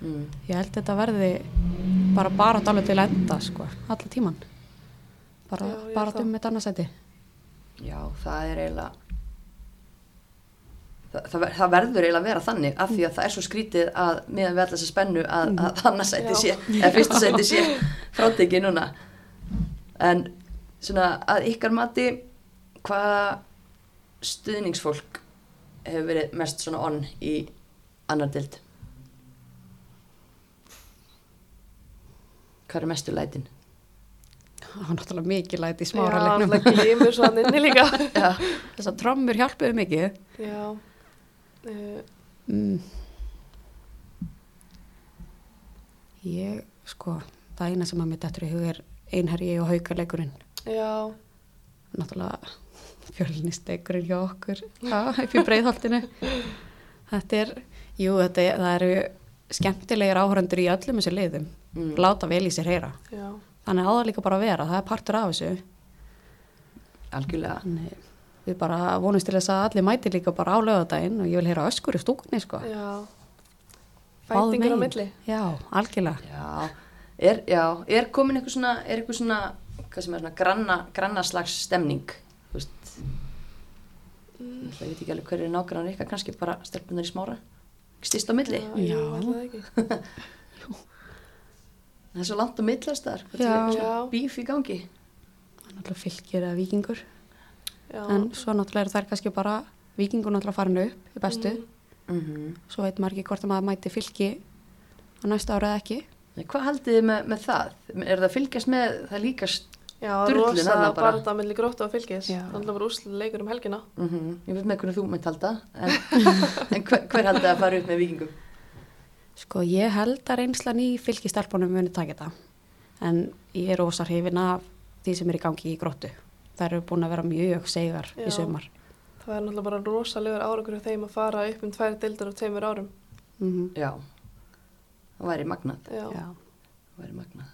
Speaker 3: mm.
Speaker 4: Ég held þetta verði bara bara alveg til enda, sko, alla tíman. Bara,
Speaker 2: Já, ég
Speaker 4: bara
Speaker 2: það.
Speaker 4: um eitt annarsæti.
Speaker 3: Já, það er eiginlega það, það, ver- það verður eiginlega að vera þannig af því að það er svo skrítið að meðan við allar sér spennu að, að annarsæti
Speaker 2: Já.
Speaker 3: sé eða fyrsta sæti sé frátekið núna en svona að ykkar mati hvaða stuðningsfólk hefur verið mest svona onn í annar dild hvað er mestu lætin?
Speaker 4: Það var náttúrulega mikið læti í
Speaker 2: Já,
Speaker 4: smára leiknum.
Speaker 2: það glimur svo hann inni líka.
Speaker 3: Já,
Speaker 4: Þess að trommur hjálpuðu mikið.
Speaker 2: Já, uh,
Speaker 4: Mm. Ég, sko, það eina sem að mér dettur í hug er einherji og haukarleikurinn.
Speaker 2: já,
Speaker 4: Náttúrulega fjölnisleikurinn hjá okkur, já, upp í breiðholtinu. Þetta er, jú, þetta er, það eru skemmtilegir áhörandur í öllum þessu liðum.
Speaker 3: Mm.
Speaker 4: Láta vel í sér heyra.
Speaker 2: já,
Speaker 4: Þannig áður líka bara að vera, það er partur af þessu.
Speaker 3: algjörlega
Speaker 4: Þannig við bara vonumst til þess að allir mæti líka bara á lögadaginn og ég vil heyra öskur í stúkunni, sko.
Speaker 2: já.
Speaker 4: Báðum
Speaker 2: Fætingur á
Speaker 4: megin.
Speaker 2: milli.
Speaker 4: Já, algjörlega.
Speaker 3: Já, er, já, er komin eitthvað svona, er eitthvað svona, hvað sem er svona granna, grannaslags stemning, þú veist, mm. ég veit ekki alveg hverju er nágrannar ykkar, kannski bara stelpunar í smára, stýst á milli,
Speaker 2: Já, já.
Speaker 4: Já.
Speaker 2: ætli það ekki.
Speaker 3: það er svo langt á milli allstaðar,
Speaker 4: Já.
Speaker 2: Já.
Speaker 3: bíf í gangi,
Speaker 4: Það er náttúrulega fylgir eða vikingur.
Speaker 2: Já,
Speaker 4: En svo náttúrulega eru þær kannski bara vikingur náttúrulega farin upp í bestu.
Speaker 3: mm
Speaker 4: Svo veit maður ekki hvort að maður mæti fylgi á næsta ára eða ekki.
Speaker 3: hvað haldið þið með, með það, er það að fylgjast með það líkast,
Speaker 2: já,
Speaker 3: drullin
Speaker 2: rosa
Speaker 3: þarna bara.
Speaker 2: barða milli gróttu og fylgis.
Speaker 4: Já.
Speaker 2: Þannig að voru úrslit leikur um helgina.
Speaker 3: mm ég veit með hvernig þú mætt halda, en, en hver, hver haldið að fara upp með vikingum?
Speaker 4: Sko ég held að reynslan í fylgistelpunum muni taka þetta. En ég er ósa hrifin af því sem er í gangi í gróttu. Þær eru búin að vera mjög segar
Speaker 2: Já.
Speaker 4: í sumar.
Speaker 2: Það er náttúrulega bara rosalegur árangur hjá þeim að fara upp um tvær deildar á tveimur árum.
Speaker 4: Mm
Speaker 3: Já, það væri magnað.
Speaker 2: Mhm. Já, já.
Speaker 4: Já.
Speaker 3: Það væri magnað.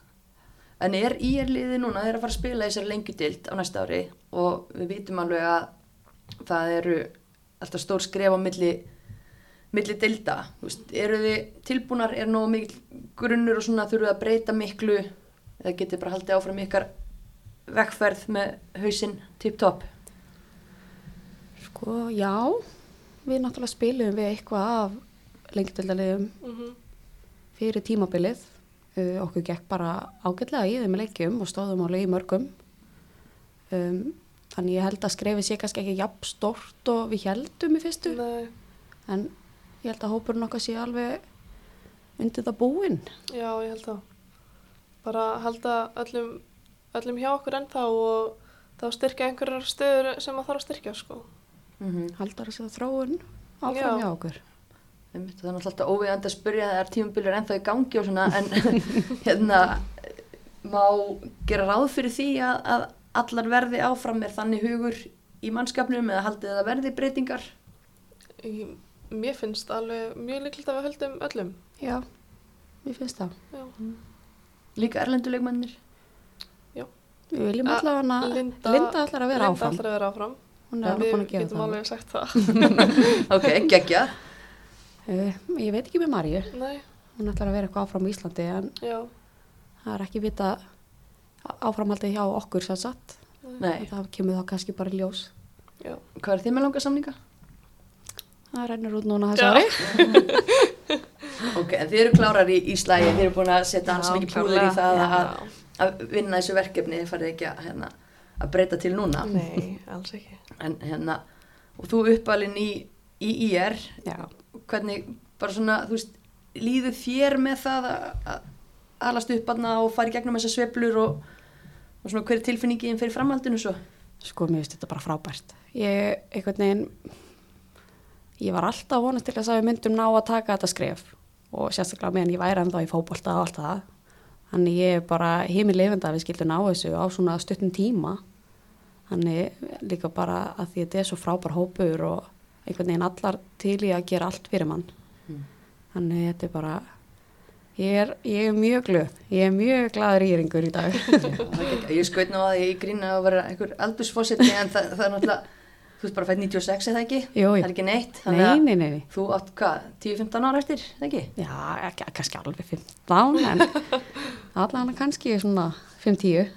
Speaker 3: En er IR-liði núna, þeir eru að fara að spila í þessari lengjudild á næsta ári og við vitum alveg að það eru alltaf stór skref á milli, milli dilda. Þú veist, Eru þið tilbúnar, er nógu mikil grunnur og svona þurfum við að breyta miklu eða getið bara haldið áfram ykkar vegferð með hausinn tip-top?
Speaker 4: Sko já, við náttúrulega spilum við eitthvað af lengjadöldaliðum
Speaker 2: Mhm.
Speaker 4: fyrir tímabilið uh, okkur gekk bara ágætlega í þeim leikjum og stóðum alveg í mörgum um, þannig ég held að skrefið sé kannski ekki jafn stort og við heldum í fyrstu
Speaker 2: Nei,
Speaker 4: en ég held að hópurinn okkar sé alveg undir það búinn
Speaker 2: já, ég held það. Bara halda öllum, öllum hjá okkur ennþá og þá styrkja einhverjar stöður sem maður þarf að styrkja, sko.
Speaker 3: Mm -hmm.
Speaker 4: haldar þessi þróun áfram
Speaker 2: Já.
Speaker 4: hjá okkur
Speaker 3: Það er náttúrulega alltaf óviðandi að spyrja það er tímabilið ennþá í gangi og svona en hérna má gera ráð fyrir því að, að allar verði áfram er þannig hugur í mannskapnum eða haldið að það verði breytingar
Speaker 2: Ég, mér finnst alveg mjög líklegt að við höldum öllum.
Speaker 4: já, mér finnst það
Speaker 2: Já.
Speaker 3: líka erlenduleikmennir
Speaker 4: við viljum
Speaker 2: A-
Speaker 4: allavega hana Linda, Linda allar að vera
Speaker 2: Linda
Speaker 4: áfram
Speaker 2: ætlar að vera áfram.
Speaker 4: hún er alveg búin að
Speaker 2: Við
Speaker 4: gera
Speaker 2: getum
Speaker 4: það
Speaker 2: alveg sagt það.
Speaker 3: ok, geggja
Speaker 4: uh, ég veit ekki með Marju
Speaker 2: Nei,
Speaker 4: hún ætlar að vera eitthvað áfram í Íslandi en
Speaker 2: já,
Speaker 4: það er ekki vita áframhaldið hjá okkur sem satt
Speaker 3: Nei,
Speaker 4: það kemur þá kannski bara í ljós
Speaker 2: já.
Speaker 3: hvað er þið með langa samninga?
Speaker 4: það rennur út núna þessu
Speaker 2: Já.
Speaker 4: ári
Speaker 3: ok, en þið eru klárar í, í slægi þið eru búin að setja hans
Speaker 4: Já,
Speaker 3: mikið púður í
Speaker 4: klárlega.
Speaker 3: það að,
Speaker 2: já.
Speaker 3: að vinna þessu verkefni þið farið ekki að, hérna, að breyta til núna
Speaker 2: Nei, alls ekki.
Speaker 3: en hérna, og þú uppalinn í, í IR
Speaker 4: já.
Speaker 3: hvernig bara svona, þú veist, líður þér með það að- að alast upp aðna og fara í gegnum þessar sveplur og, og svona hver er tilfinningin fyrir framhaldinu svo?
Speaker 4: sko mér finnst þetta bara frábært ég einhvern veginn ég var alltaf vonast til þess að við myndum ná að taka þetta skref og sérstaklega meðan ég væri ennþá í fótbolta og allt það þannig ég er bara heimil lifenda að við skildum ná þessu á svona stuttum tíma þannig líka bara að því þetta er svo frábær hópur og einhvern veginn allar til í að gera allt fyrir mann þannig þetta er bara ég er, ég er mjög glöð ég er mjög glaður íringur í dag
Speaker 3: Ég skoði nú að ég í grína að vera einhver aldursfósetti en það, það er náttúrulega, þú veist bara fætt 96 eða ekki?
Speaker 4: Jú, jú.
Speaker 3: Það er ekki neitt, þannig
Speaker 4: nei,
Speaker 3: að
Speaker 4: nei, nei, nei
Speaker 3: þú átt hvað, 10-15 ára eftir, eða ekki?
Speaker 4: Já, ekki, kannski alveg 15 en allan kannski svona 5-10,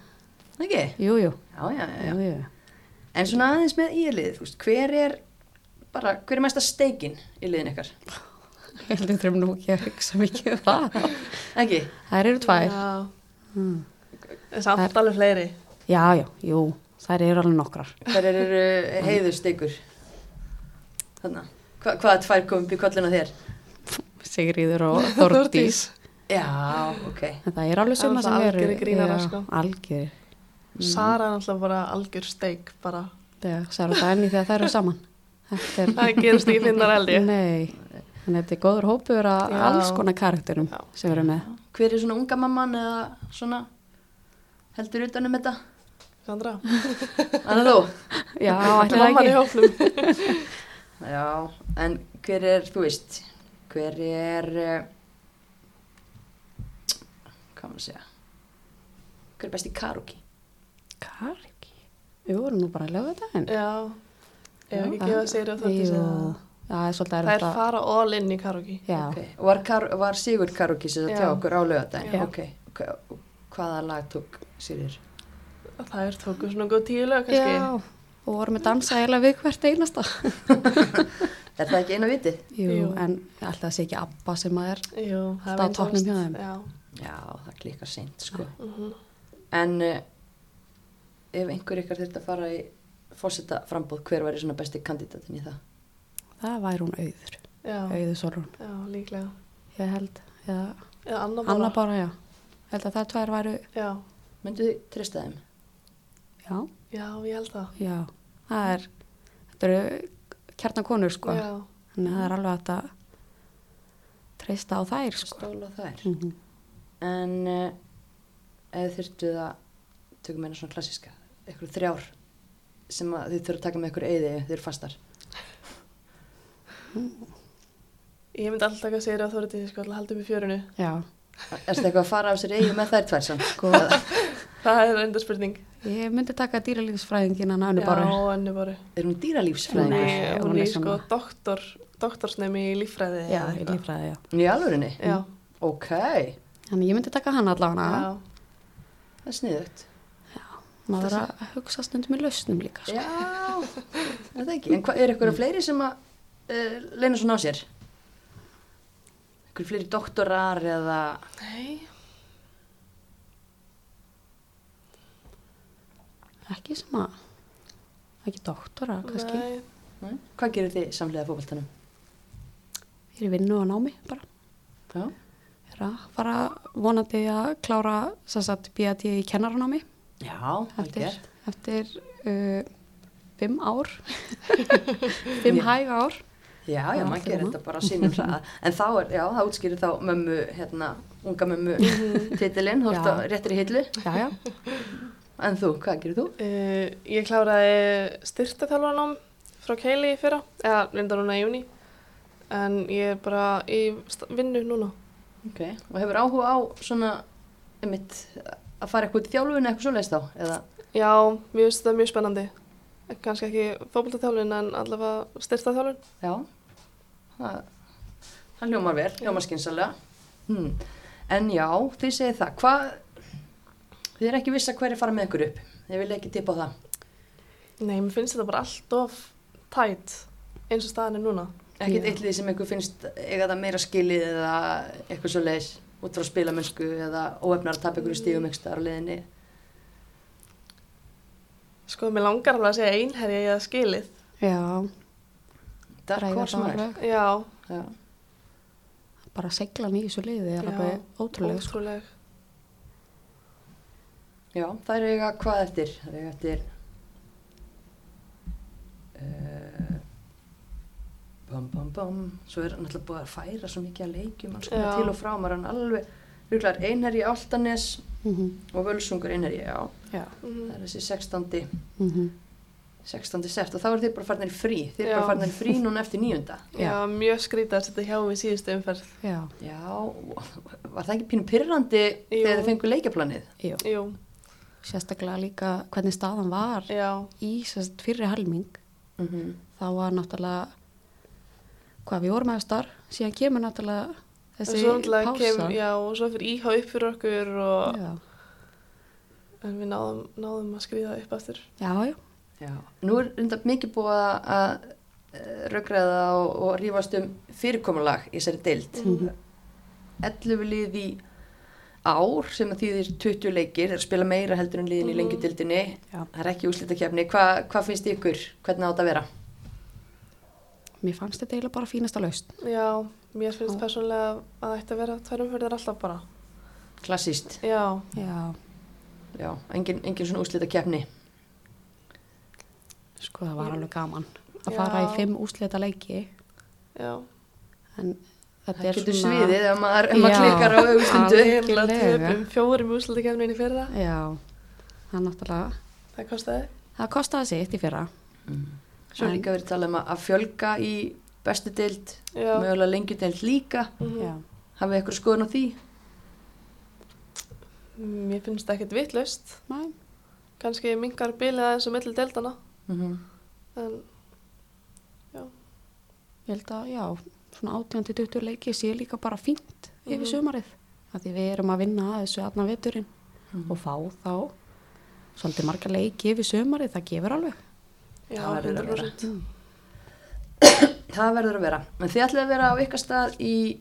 Speaker 3: Eða ekki?
Speaker 4: jú, jú,
Speaker 3: Já, já, já, já.
Speaker 4: jú, jú.
Speaker 3: En svona aðeins með ílið, þú veist, hver er bara, hver er mesta steikin í liðin ykkar?
Speaker 4: Ég held við þurfum nú ekki að hugsa mikið um það.
Speaker 3: Ekki?
Speaker 4: Þær eru tvær.
Speaker 2: Já,
Speaker 4: Mm.
Speaker 2: en samt alveg fleiri.
Speaker 4: Já, já, jú, þær eru alveg nokkrar.
Speaker 3: Hver eru uh, heiður steikur? Þannig, hva, hvaða tvær komum upp í kollin á þér?
Speaker 4: Sigriður og Þórdís.
Speaker 3: Já, ok.
Speaker 4: En Það er
Speaker 2: Það
Speaker 4: alveg
Speaker 2: er
Speaker 4: summa sem
Speaker 2: náttúrulega
Speaker 4: eru.
Speaker 2: algjörir grínarar,
Speaker 4: já,
Speaker 2: sko.
Speaker 4: Algjörir. Hmm.
Speaker 2: Sara er náttúrulega bara algjör steik bara.
Speaker 4: Já, Sara og Dani þegar þær eru saman. Þetta er...
Speaker 2: Það gerist ekki finnar held ég.
Speaker 4: Nei, þannig að þetta er góður hópur að
Speaker 2: Já.
Speaker 4: alls konar karakterum
Speaker 2: Já.
Speaker 4: sem eru með.
Speaker 3: Hver er svona unga mamman eða svona heldur utanum þetta?
Speaker 2: Sandra,
Speaker 3: Anna þú?
Speaker 4: Já, ætli það
Speaker 2: mamman í
Speaker 4: ekki.
Speaker 2: hóflum.
Speaker 3: Já, en hver er, þú veist, hver er, uh, hvað maður að segja, hver er best í karaoke?
Speaker 4: Karki? Við vorum nú bara að lögða daginn.
Speaker 2: Já, ef ekki gefa Sigri og Þórdís.
Speaker 4: Jú,
Speaker 2: eða-
Speaker 4: það er svolítið
Speaker 2: Þær
Speaker 4: erfitt að...
Speaker 2: fara all in í karaoke.
Speaker 4: Já,
Speaker 3: Okay. Og Var, kar, var Sigur karaoke sem það
Speaker 2: Já.
Speaker 3: tjá okkur á lögadaginn?
Speaker 4: Já.
Speaker 3: Ok, Hva- hvaða lag tók Sigur?
Speaker 2: Þær tóku svona góð tíu lög kannski.
Speaker 4: já. Og vorum að dansa eiginlega við hvert einasta.
Speaker 3: Er það ekki eina vitið?
Speaker 4: Jú,
Speaker 2: Jú.
Speaker 4: en alltaf sé ekki Abba sem að er.
Speaker 2: Jú, það
Speaker 4: Alltaf á toppnum
Speaker 2: vinsælast,
Speaker 4: hjá þeim.
Speaker 2: Já,
Speaker 3: Já, það klikkar seint, sko.
Speaker 2: mhm.
Speaker 3: En uh, ef einhver ykkar þurft að fara í fórseta frambóð, hver væri svona besti kandidatin í það?
Speaker 4: Það væri hún auður.
Speaker 2: já,
Speaker 4: Auður Solrún.
Speaker 2: já, líklega.
Speaker 4: Ég held, já,
Speaker 2: Eða Anna bara.
Speaker 4: Anna bara, já. Ég held að það tvær væru,
Speaker 2: Já,
Speaker 3: Myndu þið treysta þeim?
Speaker 4: já,
Speaker 2: já, ég held það.
Speaker 4: já. Það er, þetta eru kjarnakonur, sko.
Speaker 2: Já,
Speaker 4: Þannig að það er alveg hægt að treysta á þær, sko.
Speaker 3: Stóla þær.
Speaker 4: Mm -hmm.
Speaker 3: En uh, ef þurftu það, tökum eina svona klassiska, eitthvað þrjár sem að þið þurfa að taka með ykkur eyði ef þið eru fastar.
Speaker 2: ég myndi alltaf taka Sigri og Þórdís sko, alltaf haldið upp í fjörunu.
Speaker 4: Já.
Speaker 3: Erstu eitthvað að fara á sér eyði með þær tvær samt?
Speaker 4: Sko.
Speaker 3: Eða
Speaker 2: Það er enda spurning.
Speaker 4: Ég myndi taka dýralífsfræðingina annu
Speaker 2: já,
Speaker 4: bara.
Speaker 2: önnu bara.
Speaker 3: Er hún
Speaker 2: Hún
Speaker 3: dýralífsfræðingur?
Speaker 4: Nei,
Speaker 2: er,
Speaker 4: hún
Speaker 2: hún
Speaker 4: er
Speaker 2: er sko
Speaker 4: svona-
Speaker 2: doktor, doktorsnemi í líffræði.
Speaker 4: Já,
Speaker 2: eða
Speaker 4: í
Speaker 2: eitthvað.
Speaker 4: lífræði, já.
Speaker 3: Í alvörinni?
Speaker 2: Já,
Speaker 3: Ok,
Speaker 4: Þannig ég myndi taka hana allavega hana.
Speaker 2: já.
Speaker 3: það er sniðugt.
Speaker 4: Maður verður að hugsa stundum í lausnum líka. Sko.
Speaker 3: Já, er það ekki. En hvað er eitthvað fleiri sem að uh, leina svona á sér? Eitthvað fleiri doktorar eða...
Speaker 2: Nei,
Speaker 4: Ekki sem að, ekki doktora, kannski.
Speaker 2: nei.
Speaker 3: Nei? Hvað gerir þið samlega fókbaltanum?
Speaker 4: Ég er í vinnu og námi bara.
Speaker 3: Já.
Speaker 4: Ég er að fara vonandi að klára sem sagt B.A.T. í kennaranámi
Speaker 3: Já,
Speaker 4: eftir,
Speaker 3: algjört.
Speaker 4: eftir uh, fimm ár. fimm
Speaker 3: Já.
Speaker 4: hæg ár.
Speaker 3: Já, já,
Speaker 4: Já,
Speaker 3: maður gerir
Speaker 4: þrjú.
Speaker 3: þetta bara á sínum hraða. En þá er, já, það útskýrir þá mömmu, hérna, unga mömmu Mhm. titilinn, þú ert
Speaker 4: Já.
Speaker 3: á réttri hillu.
Speaker 4: Já, já.
Speaker 3: En þú, hvað gerir þú?
Speaker 2: Uh, ég kláraði styrtaþjálfarnám frá Keili í fyrra, eða reyndar núna í júni, en ég er bara í sta- vinnu núna.
Speaker 3: Ok, og hefur áhuga á svona, einmitt, að fara eitthvað út í þjálfun eitthvað svoleiðis þá? Eða,
Speaker 2: Já, mér finnst þetta mjög spennandi. Kanski ekki fókbaltaþjálfun en allavega styrtaþjálfun.
Speaker 3: Já, það, það hljómar vel, hljómar skynsalega. Hmm. En já, þið segið það, hvað, þið er ekki vissa hverju fara með ykkur upp, þið vilja ekki tippa á það.
Speaker 2: Nei, mér finnst þetta bara allt of tætt eins og staðan er núna.
Speaker 3: Ekkert
Speaker 4: Já.
Speaker 3: eitt lið sem ykkur finnst eiga það meira skilið eða eitthvað svo leiðis út frá spilamennsku eða óefnar að tapa ykkur stígum ykkur staðar á liðinni.
Speaker 2: Sko, mér langar alveg að segja einherja ég að skilið.
Speaker 4: Já,
Speaker 3: Dark
Speaker 4: ræða
Speaker 3: Horse
Speaker 4: það
Speaker 3: maður.
Speaker 4: alveg.
Speaker 2: Já,
Speaker 3: Já.
Speaker 4: Bara seglan í þessu liði er
Speaker 2: Já.
Speaker 4: alveg ótrúlega. Sko.
Speaker 2: ótrúleg.
Speaker 3: já, það er eiga hvað eftir, það er eiga eftir... Uh, bum bum bum svo er náttúrulega búið að færa svo mikið að leikjum alls konar
Speaker 2: Já.
Speaker 3: til og frá maður er hann alveg rúklar einherji áltanes
Speaker 4: Mm
Speaker 3: og völsungur einherji já,
Speaker 4: Já.
Speaker 2: Mm.
Speaker 3: það er þessi 16.
Speaker 4: Mm
Speaker 3: 16. sept og þá eru þeir bara farnir í frí þeir eru
Speaker 2: Já.
Speaker 3: bara farnir í frí núna eftir nýjunda
Speaker 2: Já, mjög skrítið að setja hjá í síðustu umferð.
Speaker 4: Já,
Speaker 3: já, var það ekki pínu pyrrandi
Speaker 2: Jú.
Speaker 3: þegar þeir fengu leikjaplanið
Speaker 4: jú.
Speaker 2: Jú,
Speaker 4: Sérstaklega líka hvernig staðan var
Speaker 2: já,
Speaker 4: í sérst, fyrri helming.
Speaker 3: mm -hmm.
Speaker 2: Mhm.
Speaker 4: Þá var náttúrulega, hvað við vorum efstar, síðan kemur náttúrulega
Speaker 2: en
Speaker 4: þessi
Speaker 2: svo náttúrulega
Speaker 4: pása.
Speaker 2: kem, já, og svo fyrir íhá upp fyrir okkur og
Speaker 4: já.
Speaker 2: en við náðum, náðum að skrýða upp aftur.
Speaker 4: já, já.
Speaker 3: já, nú er undar mikið búið að raugræða og, og rífast um fyrirkomulag í þessari deild
Speaker 4: Mhm.
Speaker 3: 11 lið í ár sem að þýðir 20 leikir er að spila meira heldur en liðin í
Speaker 2: Mhm.
Speaker 3: lengjudeildinni
Speaker 4: Já.
Speaker 3: það er ekki úslitakefni, Hva, hvað finnst ykkur hvernig á þetta að vera?
Speaker 4: Mér fannst þetta eiginlega bara fínasta laust.
Speaker 2: Já, mér finnst
Speaker 4: Já.
Speaker 2: persónulega að það ætti að vera tvær umferðir alltaf bara.
Speaker 3: Klassíst,
Speaker 2: Já,
Speaker 4: Já,
Speaker 3: já, engin, engin svona úslitakefni
Speaker 4: sko það var alveg gaman að
Speaker 2: Já.
Speaker 4: fara í fimm úslita leiki
Speaker 2: já.
Speaker 4: en þetta
Speaker 3: það
Speaker 4: er
Speaker 3: getur
Speaker 4: svona...
Speaker 3: sviðið ef maður, ef maður
Speaker 4: Já.
Speaker 3: klikkar á augustundu
Speaker 4: Alveg.
Speaker 2: Ég laði
Speaker 4: Algjörlega.
Speaker 2: upp um fjórum úrslutakefnin í fyrra.
Speaker 4: Já, það er náttúrulega,
Speaker 2: Það kostiði.
Speaker 4: það kostaði sitt í fyrra.
Speaker 3: svo er líka verið að tala um að- að fjölga í bestu deild
Speaker 2: Já.
Speaker 3: mögulega lengjudeild líka
Speaker 2: Mhm.
Speaker 4: Já,
Speaker 3: hafið ykkur skoðun á því?
Speaker 2: Mér finnst það ekkert vittlust.
Speaker 4: næ,
Speaker 2: Kanski mingar bilið aðeins um milli deildana.
Speaker 3: Mhm.
Speaker 2: En
Speaker 4: ég held að, já, svona 18-20 leiki sé líka bara fínt yfir sumarið. Það því við erum að vinna að þessu aðna veturinn og fá þá svolítið marga leiki yfir sumarið, það gefur alveg.
Speaker 2: já,
Speaker 3: Það verður að
Speaker 2: 100%.
Speaker 3: Það verður að vera. En þið ætlaði að vera á ykkar stað í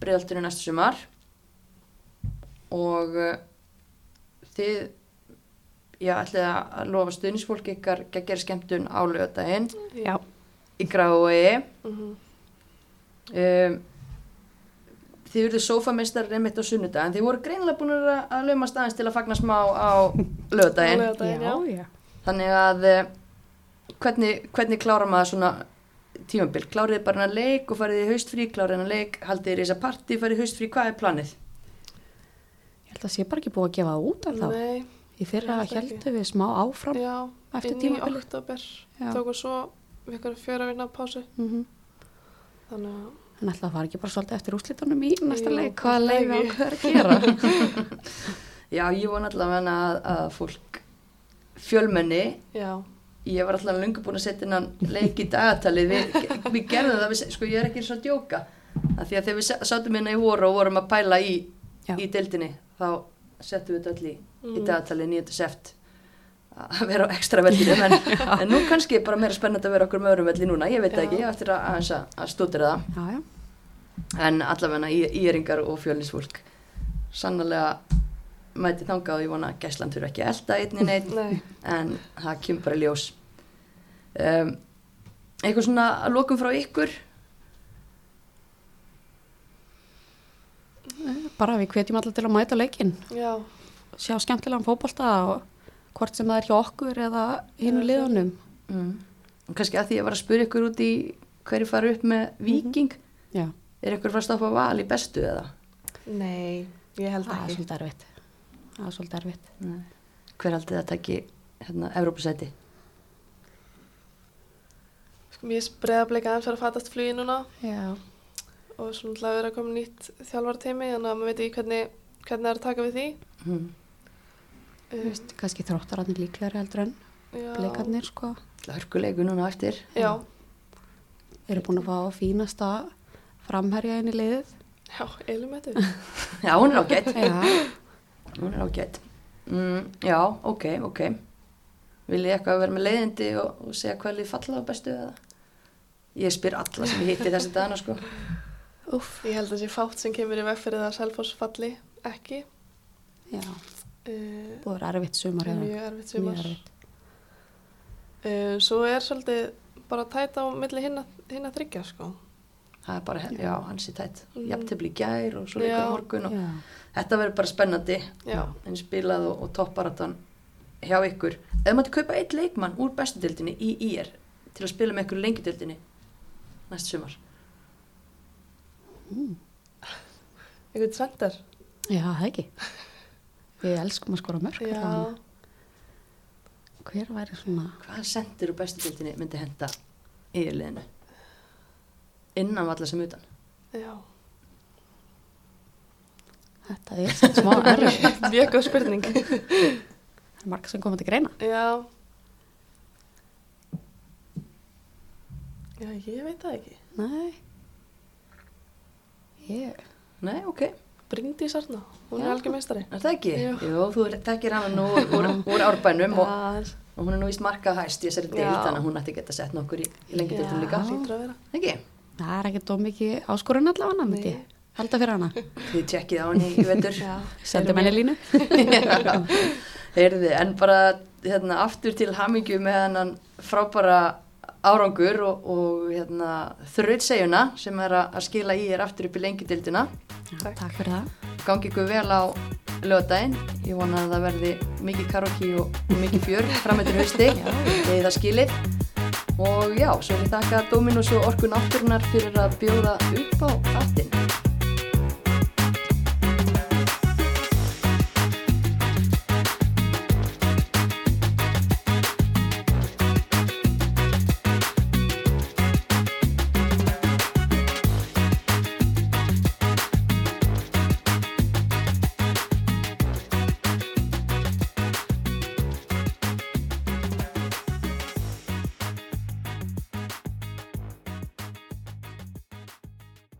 Speaker 3: breyðaltinu næsta sumar og uh, þið já, ætlaði að lofa stuðnisfólk ykkar að gera skemmtun á lögadaginn
Speaker 4: Já,
Speaker 3: í grái.
Speaker 4: Mm.
Speaker 2: Mhm.
Speaker 3: Um, þið eruðu sófamestrar einmitt á sunnudag en þið voru greinilega búin að, að laumast aðeins til að fagna smá á
Speaker 2: Á
Speaker 3: lögadaginn.
Speaker 2: laugardaginn. Þetta er,
Speaker 4: já, já.
Speaker 3: Þannig að uh, hvernig, hvernig klára maður svona tímabil? Klárið þið bara hennar leik og farið þið í haustfrí, klárið hennar leik, haldið þið í þessa partí, farið í haustfrí, hvað er planið?
Speaker 4: Ég held að sé bara ekki búið að gefa það út en þá.
Speaker 2: Nei,
Speaker 4: Í fyrra
Speaker 2: ég held ekki.
Speaker 4: heldum við smá áfram.
Speaker 2: já.
Speaker 4: Eftir
Speaker 2: inn
Speaker 4: tímabilið.
Speaker 2: Í oktober.
Speaker 4: Já.
Speaker 2: Tókum svo ykkur fjóra vinna pásu.
Speaker 4: Mm
Speaker 2: Þannig að
Speaker 4: En alltaf var ekki bara svolítið eftir úrslitunum í næsta
Speaker 2: Jú,
Speaker 4: leik, hvaða leik
Speaker 2: kannski
Speaker 4: við
Speaker 2: ekki.
Speaker 4: ákveður að gera.
Speaker 3: Já, ég vona allavega að, að fólk fjölmenni,
Speaker 2: já,
Speaker 3: ég var allavega lungu búin að setja hennan leik í dagatalið, við, við gerðum það, við, sko ég er ekki eins og að djóka, að því að þegar við sa- sátum hérna í voru og vorum að pæla í,
Speaker 4: Já.
Speaker 3: í deildinni, þá settum við þetta öll í, í
Speaker 2: Mm.
Speaker 3: dagatalið 9. seft að vera á ekstra vellir en, en nú kannski er bara meira spennandi að vera okkur með öðrum velli núna, ég veit það
Speaker 2: Já.
Speaker 3: ekki, ég á eftir að, aðeins að, að stúdira það
Speaker 4: Já, já.
Speaker 3: en allavega í, íringar og fjölinsfólk sannlega mæti þangað og ég vona að Gæsland fyrir ekki að elda einn en einn
Speaker 2: nei.
Speaker 3: en það kemur bara í ljós um, eitthvað svona að lokum frá ykkur
Speaker 4: Bara við hvetjum alla til að mæta leikinn,
Speaker 2: Já,
Speaker 4: sjá skemmtilegan fótbolta og hvort sem það er hjá okkur eða hinu
Speaker 2: Já,
Speaker 4: liðanum.
Speaker 3: mm. kannski að því ég var að spura ykkur út í hverju fara upp
Speaker 2: Mhm.
Speaker 3: með viking
Speaker 4: Já,
Speaker 3: er ykkur fara að stoppa val í bestu eða
Speaker 2: nei, ég held
Speaker 4: það er
Speaker 2: ekki.
Speaker 4: svolítið erfitt. Það er svolítið erfitt.
Speaker 3: Nei. hver haldið það taki hérna, Evrópusæti
Speaker 2: Sko, mér spreða bleika aðeins fyrir að fatast flugi núna
Speaker 4: Já,
Speaker 2: og svona ætla að vera að koma nýtt þjálfarteimi þannig að maður veit ekki hvernig, hvernig það er að taka við því.
Speaker 3: mm.
Speaker 4: þú veist, kannski þróttararnir líklegri heldur en
Speaker 2: Ehm, Já.
Speaker 4: bleikarnir, sko.
Speaker 3: hörkulegu núna á eftir
Speaker 2: Já,
Speaker 4: Eru búin að fá fínasta framherja inn í liðið.
Speaker 2: já, elumetu.
Speaker 3: já, hún er ágætt
Speaker 4: Já,
Speaker 3: Hún er ágætt. Mm, já, ok, ok. Vil ég eitthvað vera með leiðindi og, og segja hvað lið falla á bestu eða? Ég spyr alla sem ég hitti þessi dagana sko.
Speaker 4: uff.
Speaker 2: Ég held að sé fátt sem kemur í veg fyrir það að Selfoss falli ekki.
Speaker 4: Já,
Speaker 2: Uh,
Speaker 4: búið er erfitt sumar eða.
Speaker 2: mjög erfitt sumar.
Speaker 4: Mjög erfitt.
Speaker 2: Uh, svo er svolítið bara tæt á milli hinn að þryggja sko.
Speaker 3: Það er bara, já, já hans er tætt.
Speaker 2: Mm.
Speaker 3: Mm. Jafntefli í gær og svo líka
Speaker 2: Já.
Speaker 3: í morgun. Og,
Speaker 4: Já,
Speaker 3: þetta verður bara spennandi.
Speaker 2: Já,
Speaker 3: En spilað og, og topparatan hjá ykkur. Ef maður til kaupa eitt leikmann úr bestudildinni í IR til að spila með ykkur lengjudildinni næst sumar.
Speaker 2: einhvern sender.
Speaker 4: já, það ekki. Við elskum að skora mörg.
Speaker 2: Já,
Speaker 4: Hver væri svona...
Speaker 3: Hvaða sendir úr bestudildinni myndi henda IR-liðinu? Innan valla sem utan.
Speaker 2: já.
Speaker 4: Þetta er samt smá erfitt.
Speaker 2: Mjög góð spurning.
Speaker 4: Það er marga sem komið til greina.
Speaker 2: Já. Já, ég veit það ekki.
Speaker 4: Nei. Ég,
Speaker 3: Nei, ok.
Speaker 2: Bryndís Arna, hún
Speaker 3: Já.
Speaker 2: er algjör meistari.
Speaker 3: Er það ekki?
Speaker 2: Jú.
Speaker 3: Jú, þú þekkir hana nú úr, úr, úr árbænum og
Speaker 2: Já,
Speaker 3: og hún er nú vist markað hæst í þessari deild
Speaker 2: Já.
Speaker 3: þannig að hún ætti að geta sett nokkur í, í lengi deildum líka
Speaker 4: Já.
Speaker 2: hlýtur að vera.
Speaker 3: ekki?
Speaker 4: Það er ekkert of mikið áskorun allavega hana, myndi
Speaker 2: Nei.
Speaker 4: ég. Halda fyrir hana.
Speaker 3: Þið tjekkið á henni í vetur
Speaker 2: Já.
Speaker 4: Sendum henni línu.
Speaker 3: Heyrði, en bara hérna, aftur til hamingju með hennan frábæra árangur og, og hérna, þrautsegjuna sem er að, að skila í er aftur upp í lengjudildina.
Speaker 4: Já,
Speaker 2: Takk.
Speaker 4: takk fyrir það.
Speaker 3: Gangi ykkur vel á lögadaginn. Ég vona að það verði mikið karaoke og og mikið fjör framöndir hausti þegar það skilir. Og já, svo vil ég þakka Dominus og Orkun Náttúrunar fyrir að bjóða upp á þáttinn.